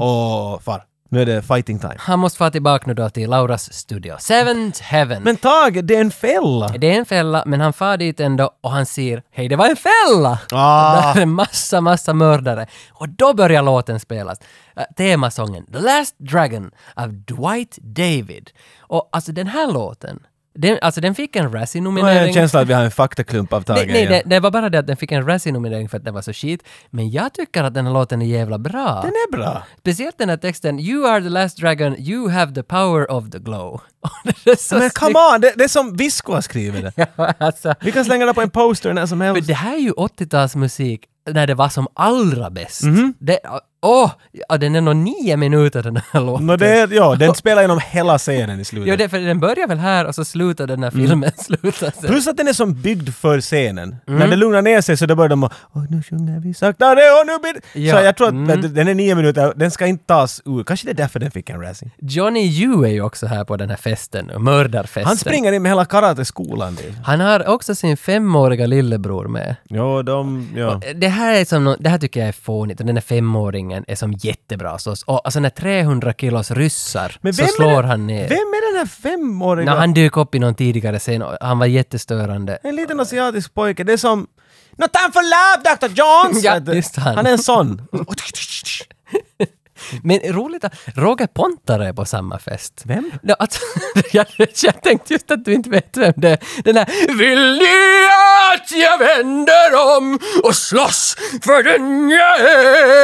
och far. Nu är det fighting time. Han måste få tillbaka nu då till Lauras studio. Seventh Heaven. Men Tage, det är en fälla! det är en fälla, men han far dit ändå och han ser hej, det var en fälla! Ah. Där är massa, massa mördare. Och då börjar låten spelas. Eh, temasången The Last Dragon av Dwight David. Och alltså den här låten, den, alltså den fick en Nu har jag en Razzie-nominering. känsla att vi har en faktaklump av Tage Nej, nej igen. det, det var bara det att den fick en Razzie-nominering för att den var så shit. Men jag tycker att den här låten är jävla bra. Den är bra! Speciellt den här texten “You are the last dragon, you have the power of the glow”. Och det är så Men come on, det, det är som Visco har skrivit det. snyggt. alltså, Vi kan slänga det på en poster när som men helst. det här är ju 80-talsmusik när det var som allra bäst. Mhm. Det, åh! ja, den är nog nio minuter den här låten. Nå, det, är- ja, den spelar genom hela scenen i Jo, slutet. det, för den börjar väl här och så slutar den här filmen. Slutar sen. Mm. Plus att den är som byggd för scenen. Mm. När det lugnar ner sig så då börjar de att "Åh, nu sjunger vi saktare och nu blir det-" Ja. Så jag tror att Mm. den är nio minuter, den ska inte tas ur. Kanske det är därför den fick en Razzie. Johnny Yu är ju också här på den här festen, mördarfesten. Han springer in med hela karateskolan typ. dit. Han har också sin femåriga lillebror med. Ja, de... Ja. Det här, är som, nå- det här tycker jag är fånigt och den där femåringen är som jättebra. Så, och, alltså när 300 kilos ryssar så vem är slår den- han ner. Vem är den här femåriga? När eh, han dök upp i någon tidigare scen och han var jättestörande. En liten asiatisk pojke, det är som... No time for love, Dr. Jones! Ja, just han. han är en sån. Men roligt att Roger Pontare är på samma fest. Vem? Ja, alltså, jag, jag tänkte just att du inte vet vem det är. Den här Vill ni att jag vänder om och slåss för den jag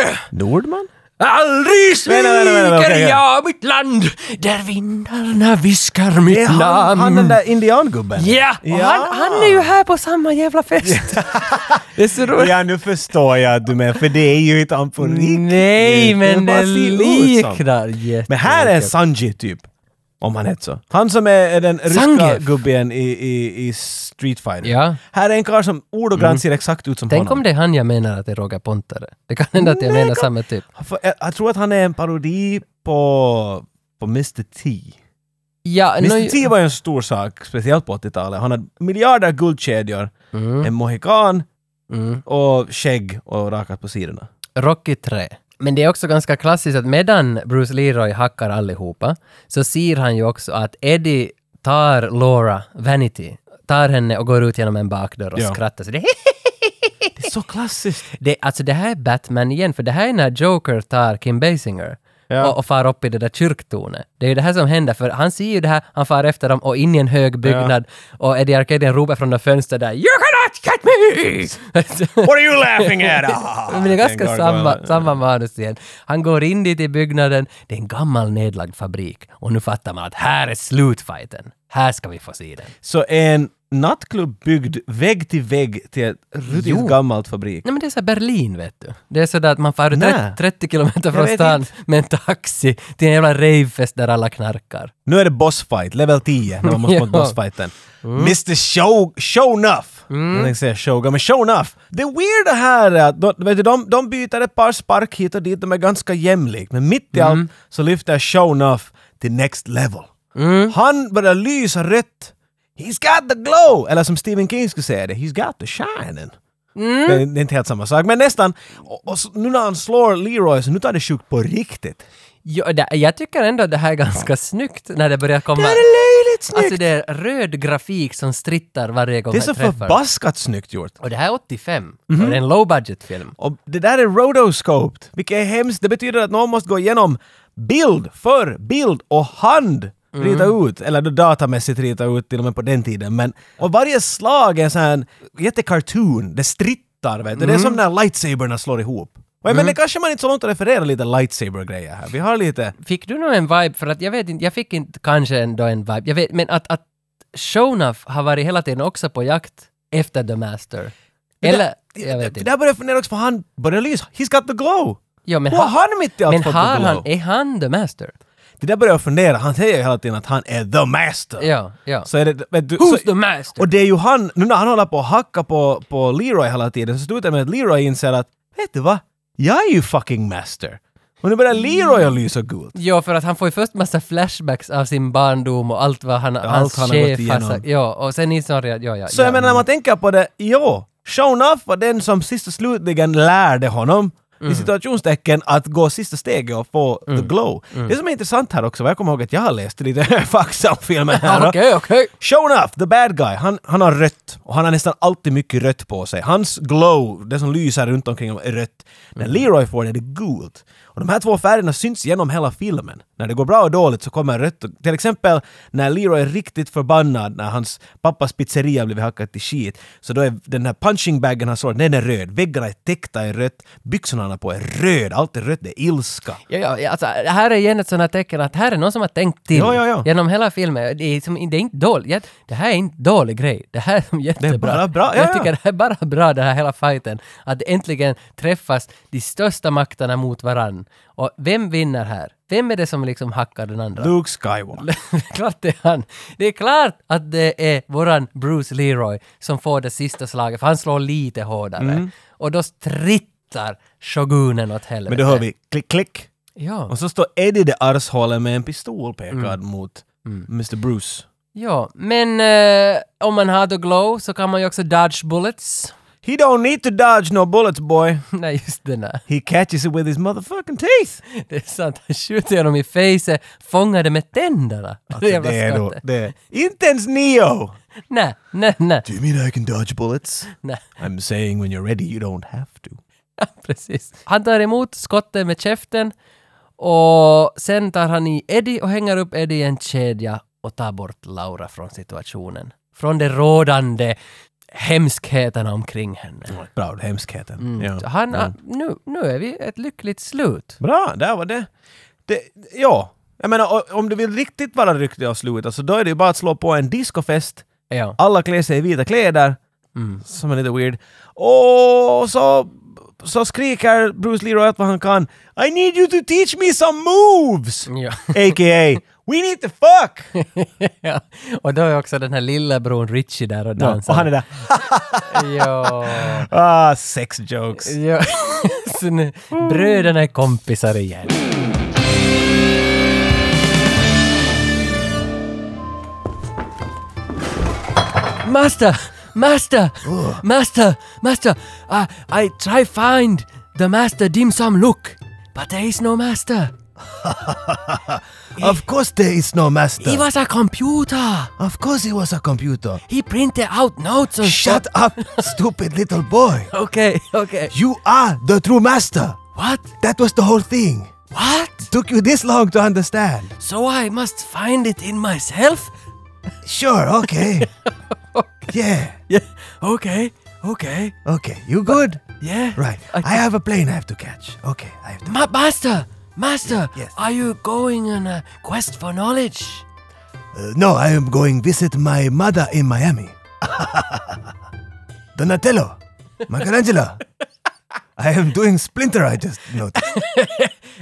är? Nordman? Aldrig sviker Vänta, vänta, vänta, okej, okej. jag mitt land där vindarna viskar Det mitt är han, namn. han den där indiangubben? Ja! Och Han, han är ju här på samma jävla fest. det är så roligt. Ja, nu förstår jag att du menar, för det är ju inte han på riktigt. Nej, Det är men bara det ser ut som. liknar Men här är en jättemycket. Sanji typ. Om han heter så. Han som är, är den ryska Zangief. gubben i, i, i Street Fighter. Ja. Mm. Här är en karl som ordagrant ser exakt ut som Tänk honom. om det är han jag menar att det är Roger Pontare. Det kan hända att jag menar samma typ. För jag, jag tror att han är en parodi på, på Mr T. Ja, Mr nå- T var ju en stor sak, speciellt på 80-talet. Han hade miljarder guldkedjor, en mohikan Mm. och skägg och rakat på sidorna. Rocky 3. Men det är också ganska klassiskt att medan Bruce Leroy hackar allihopa så ser han ju också att Eddie tar Laura Vanity, tar henne och går ut genom en bakdörr och Ja. skrattar. Så det, Det är så klassiskt! det, alltså det här är Batman igen, för det här är när Joker tar Kim Basinger Ja. och, och far upp i det där kyrktornet. Det är ju det här som händer, för han ser ju det här, han far efter dem och in i en hög byggnad och Eddie Arcadian ropar från det fönster där “You cannot get me!” What are you laughing at? Ah, Men det är ganska den samma, gargoyle. samma manus igen. Han går in dit i byggnaden, det är en gammal nedlagd fabrik och nu fattar man att här är slutfighten. Här ska vi få se den. Så en nattklubb byggd vägg till vägg till ett ruttigt Jo. gammalt fabrik. Nej men det är så här Berlin vet du. Det är sådär att man far ut Nä. 30, 30 kilometer från vet stan inte. med en taxi till en jävla ravefest där alla knarkar. Nu är det bossfight, level 10, när man måste mot Ja. bossfighten. Mr Show, show enough! Jag tänkte säga Shogun, men show enough! Det weirda här är att de, vet du, de, de byter ett par spark hit och dit, de är ganska jämlikt. Men mitt i allt så lyfter show enough till next level. Han börjar lysa rött. He's got the glow! Eller som Stephen King skulle säga det, he's got the shining. Det, det är inte helt samma sak, men nästan. Och, och så, nu när han slår Leroy så nu tar det sjukt på riktigt. Jo, det, jag tycker ändå att det här är ganska snyggt när det börjar komma... Det här är löjligt snyggt! Alltså det är röd grafik som strittar varje gång det är så man träffar. förbaskat snyggt gjort. Och det här är 85. Och det är en low budget film. Och det där är rotoscoped, vilket är hemskt. Det betyder att någon måste gå igenom bild för bild och hand rita Mm. ut, eller då datamässigt rita ut till och med på den tiden. Men, och varje slag är en sån här jättekartoon, det strittar vet du. Mm. Det är som när lightsaberna slår ihop. Och jag menar, kanske man inte så långt att referera lite lightsaber-grejer här. Vi har lite... Fick du nog en vibe, för att jag vet inte, jag fick inte kanske ändå en vibe, jag vet, men att, att Shonuff har varit hela tiden också på jakt efter The Master. Eller, jag vet Där inte. börjar jag fundera också, för han börjar lysa. He's got the glow! Jo, men Vad har ha, han mitt i allt men fått har the glow? han, är han The Master? Det där börjar jag fundera. Han säger ju hela tiden att han är the master. Ja, ja. Så är det... Vet du, Who's så, the master? Och det är ju han, nu när han håller på och hacka på, på Leroy hela tiden så slutar det med att Leroy inser att vet du vad? Jag är ju fucking master. Och nu börjar Leroy att lysa gult. Jo, för att han får ju först massa flashbacks av sin barndom och allt vad han, hans han har gått chef har igenom. sagt. Ja, och sen inser han redan, ja, ja. Så ja, jag menar när man tänker på det, jo, Shonuff var den som sist och slutligen lärde honom Mm. i situationstecken att gå sista steget och få the glow. Mm. Det som är intressant här också, vad jag kommer ihåg att jag har läst lite fakta om filmen här. Ja, då. Okej, okej. Show enough, the bad guy, han, han har rött. Och han har nästan alltid mycket rött på sig. Hans glow, det som lyser runt omkring honom, är rött. När Leroy får det, det är gult. Och de här två färgerna syns genom hela filmen. När det går bra och dåligt så kommer rött. Och Till exempel när Leroy är riktigt förbannad när hans pappas pizzeria blivit hackad till shit. Så då är den här punching baggen han slår, den är röd. Väggarna är täckta i rött. Byxorna han har på är röd. Allt är rött, det är ilska. Ja, ja, ja, alltså, det här är igen ett sånt här tecken att här är någon som har tänkt till Ja, ja, ja. genom hela filmen. Det är, som, det är inte dåligt. Jag- Det här är inte dålig grej. Det här är som jättebra. bara bra, ja, Jag ja. tycker det här är bara bra, den här hela fighten. Att det äntligen träffas de största makterna mot varann. Och vem vinner här? Vem är det som liksom hackar den andra? Luke Skywalker. klart det är han. Det är klart att det är våran Bruce Leroy som får det sista slaget, för han slår lite hårdare. Mm. Och då strittar shogunen åt helvete. Men då hör vi klick, klick. Ja. Och så står Eddie det arshålet med en pistol pekad mot Mr. Bruce. Ja, men eh, om man har the glow så kan man ju också dodge bullets. He don't need to dodge no bullets boy. Nej, just den där. He catches it with his motherfucking teeth. Det är sant, han skjuter honom i facet, fångar det med tänderna. Alltså, det är då, det är. Inte ens Neo! Nej, nej, nej, Do you mean I can dodge bullets? nej. I'm saying when you're ready you don't have to. Precis. Han tar emot skottet med käften och sen tar han i Eddie och hänger upp Eddie i en kedja och tar bort Laura från situationen. Från det rådande hemskheterna omkring henne. Bra, hemskheten. Ja. Så han, ah, Ja. nu, nu är vi ett lyckligt slut. Bra, där var det. det ja, jag menar o- om du vill riktigt vara riktig och slut, alltså, då är det ju bara att slå på en discofest Ja. alla klär sig i vita kläder, som är lite weird. Och så, så skriker Bruce Leroy allt vad han kan. I need you to teach me some moves! ja. A.k.a. We need to fuck! ja. Och då är också den här lilla bron Richie där och Ja, dansar. och han är där. Jo. Ah, sex jokes. jo. Så nu, bröderna är kompisar igen. Master! Master! Oh. Master! Master! I, I try find the master dim sum look, but there is no master. Of course there is no master. He was a computer. Of course he was a computer. He printed out notes and Shut up, stupid little boy. Okay, okay. You are the true master. What? That was the whole thing. What? Took you this long to understand. So I must find it in myself? Sure, okay. Yeah, Yeah. Okay. Okay. okay. You good? Yeah. Right. I have a plane I have to catch. Okay, I have to. Ma- master, master. Yes. Are you going on a quest for knowledge? Uh, no, I am going visit my mother in Miami. Donatello, Michelangelo. I am doing Splinter, I just noticed.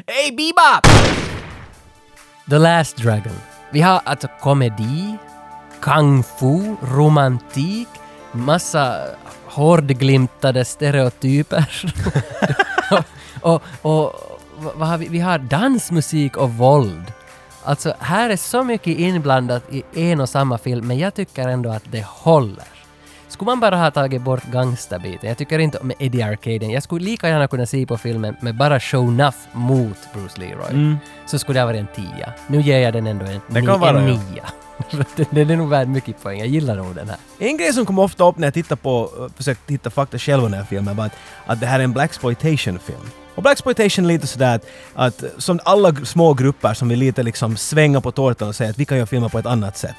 Hey, Bebop! The Last Dragon. Vi har alltså komedi, kung fu, romantik, massa hårdglimtade stereotyper. och, och, och vad- vad har vi? vi har dansmusik och våld. Alltså, här är så mycket inblandat i en och samma film, men jag tycker ändå att det håller. Skulle man bara ha tagit bort gangsterbiten, jag tycker inte om Eddie Arcaden, jag skulle lika gärna kunna se på filmen med bara show enough mot Bruce Leroy, så skulle det ha varit en tia. Nu ger jag den ändå en, Mm. Det ni, kan vara, en ja. nia. den, den är nog värd mycket poäng, jag gillar nog den här. En grej som kom ofta upp när jag tittade på, försökte hitta fakta själv om den här filmen var att, att det här är en blaxploitation film Och blaxploitation är lite sådär att, att som alla gr- små grupper som vill lite liksom svänga på tårtan och säga att vi kan göra filmer på ett annat sätt.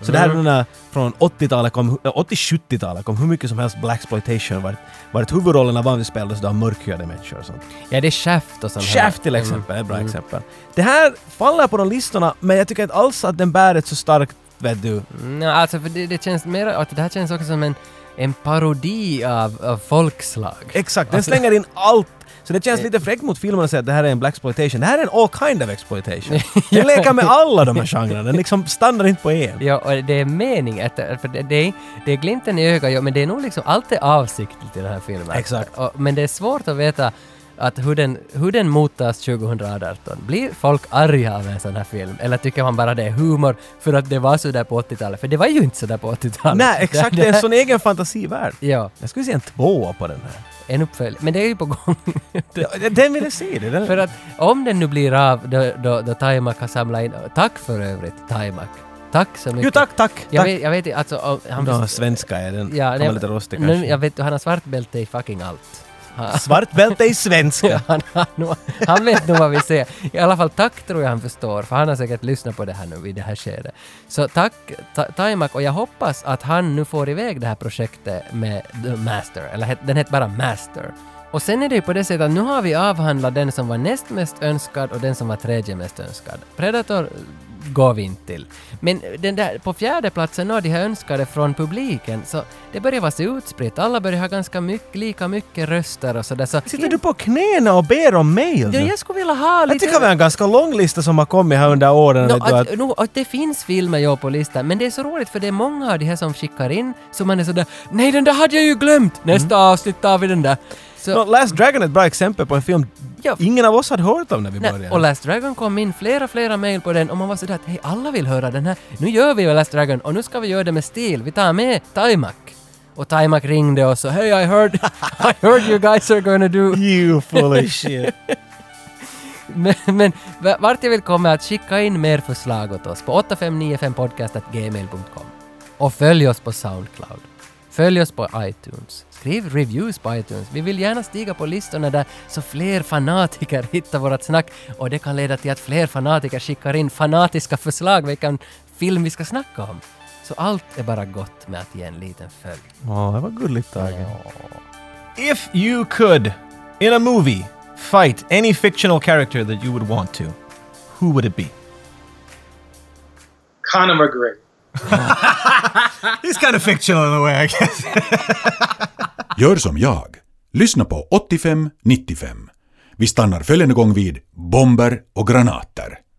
Så det här är den där från 80-talet kom, 80-70-talet kom hur mycket som helst blaxploitation vart, vart huvudrollerna vanligtvis spelades då av mörkhyade människor och sånt. Ja, det är Shaft och sånt här. Shaft till exempel är liksom- ett bra exempel. Det här faller på de listorna men jag tycker inte alls att den bär ett så starkt, vet du, Nej, alltså för det, det känns mer att det här känns också som en, en parodi av, av folkslag. Exakt, den slänger in allt. Så det känns Eh. lite fräckt mot filmen att säga att det här är en blaxploitation. Det här är en all kind of exploitation. Den leker med alla de här genrerna, den liksom stannar inte på en. Ja, och det är mening att, för det, det, är, det är glimten i ögat, ja, men det är nog liksom, allt är avsiktligt i den här filmen. Exakt. Och, men det är svårt att veta att hur den, hur den mottas 2018. Blir folk arga av en sån här film? Eller tycker man bara det är humor för att det var sådär på 80-talet? För det var ju inte sådär på 80-talet. Nej, exakt, det är en sån egen fantasivärld. Ja, Jag skulle se en tvåa på den här. en uppföljning. Men det är ju på gång. Ja, Den vill jag se. Det. Den, För att om den nu blir av då, då, då Taimak har samlat in... Tack för övrigt, Taimak. Tack så mycket. jo, tack, tack. Jag tack. vet, jag vet inte, alltså... om- Han, Nå, svenska är den. ja, kan nej, vara lite rostig men kanske. Jag vet, han har svart bälte i fucking allt. Han, Svart bälte i svenska. han, han, han vet nog vad vi säger. I alla fall tack tror jag han förstår, för han har säkert lyssnat på det här nu i det här skedet. Så tack Ta- Taimak, och jag hoppas att han nu får iväg det här projektet med The Master, eller het- den heter bara Master. Och sen är det ju på det sättet att nu har vi avhandlat den som var näst mest önskad och den som var tredje mest önskad. Predator gav vi inte till. Men den där, på fjärde platsen har de här önskade från publiken, så det börjar vara så utspritt. Alla börjar ha ganska mycket, lika mycket röster och sådär. Så Sitter du på knäna och ber om mail? Ja, nu? jag skulle vilja ha lite... jag tycker vi har en ganska lång lista som har kommit här under åren. Nå, vet du, att, att, nå, att det finns filmer jag på listan, men det är så roligt för det är många av de här som skickar in som man är sådär ”Nej, den där hade jag ju glömt! Nästa avsnitt tar vi den där!” så, Nå, Last Dragon är ett bra exempel på en film Ja. ingen av oss hade hört om när vi nej, började. Och Last Dragon kom in flera, flera mejl på den och man var sådär att ”Hej, alla vill höra den här! Nu gör vi ju Last Dragon och nu ska vi göra det med stil! Vi tar med Taimak!” Och Taimak ringde och sa ”Hey, I heard, I heard you guys are gonna do...” You full of shit. Men, men v- vart jag vill komma är att skicka in mer förslag åt oss på 8595podcast.gmail.com och följ oss på Soundcloud. Följ oss på iTunes. Skriv reviews på iTunes. Vi vill gärna stiga på listorna där så fler fanatiker hittar vårt snack och det kan leda till att fler fanatiker skickar in fanatiska förslag vilken film vi ska snacka om. Så allt är bara gott med att ge en liten följ. Åh, det var gulligt Tage. If you could, in a movie, fight any fictional character that you would want to, who would it be? Conor McGregor. He's kind of fictional in a way I guess. Gör som jag. Lyssna på 85-95. Vi stannar följande gång vid bomber och granater.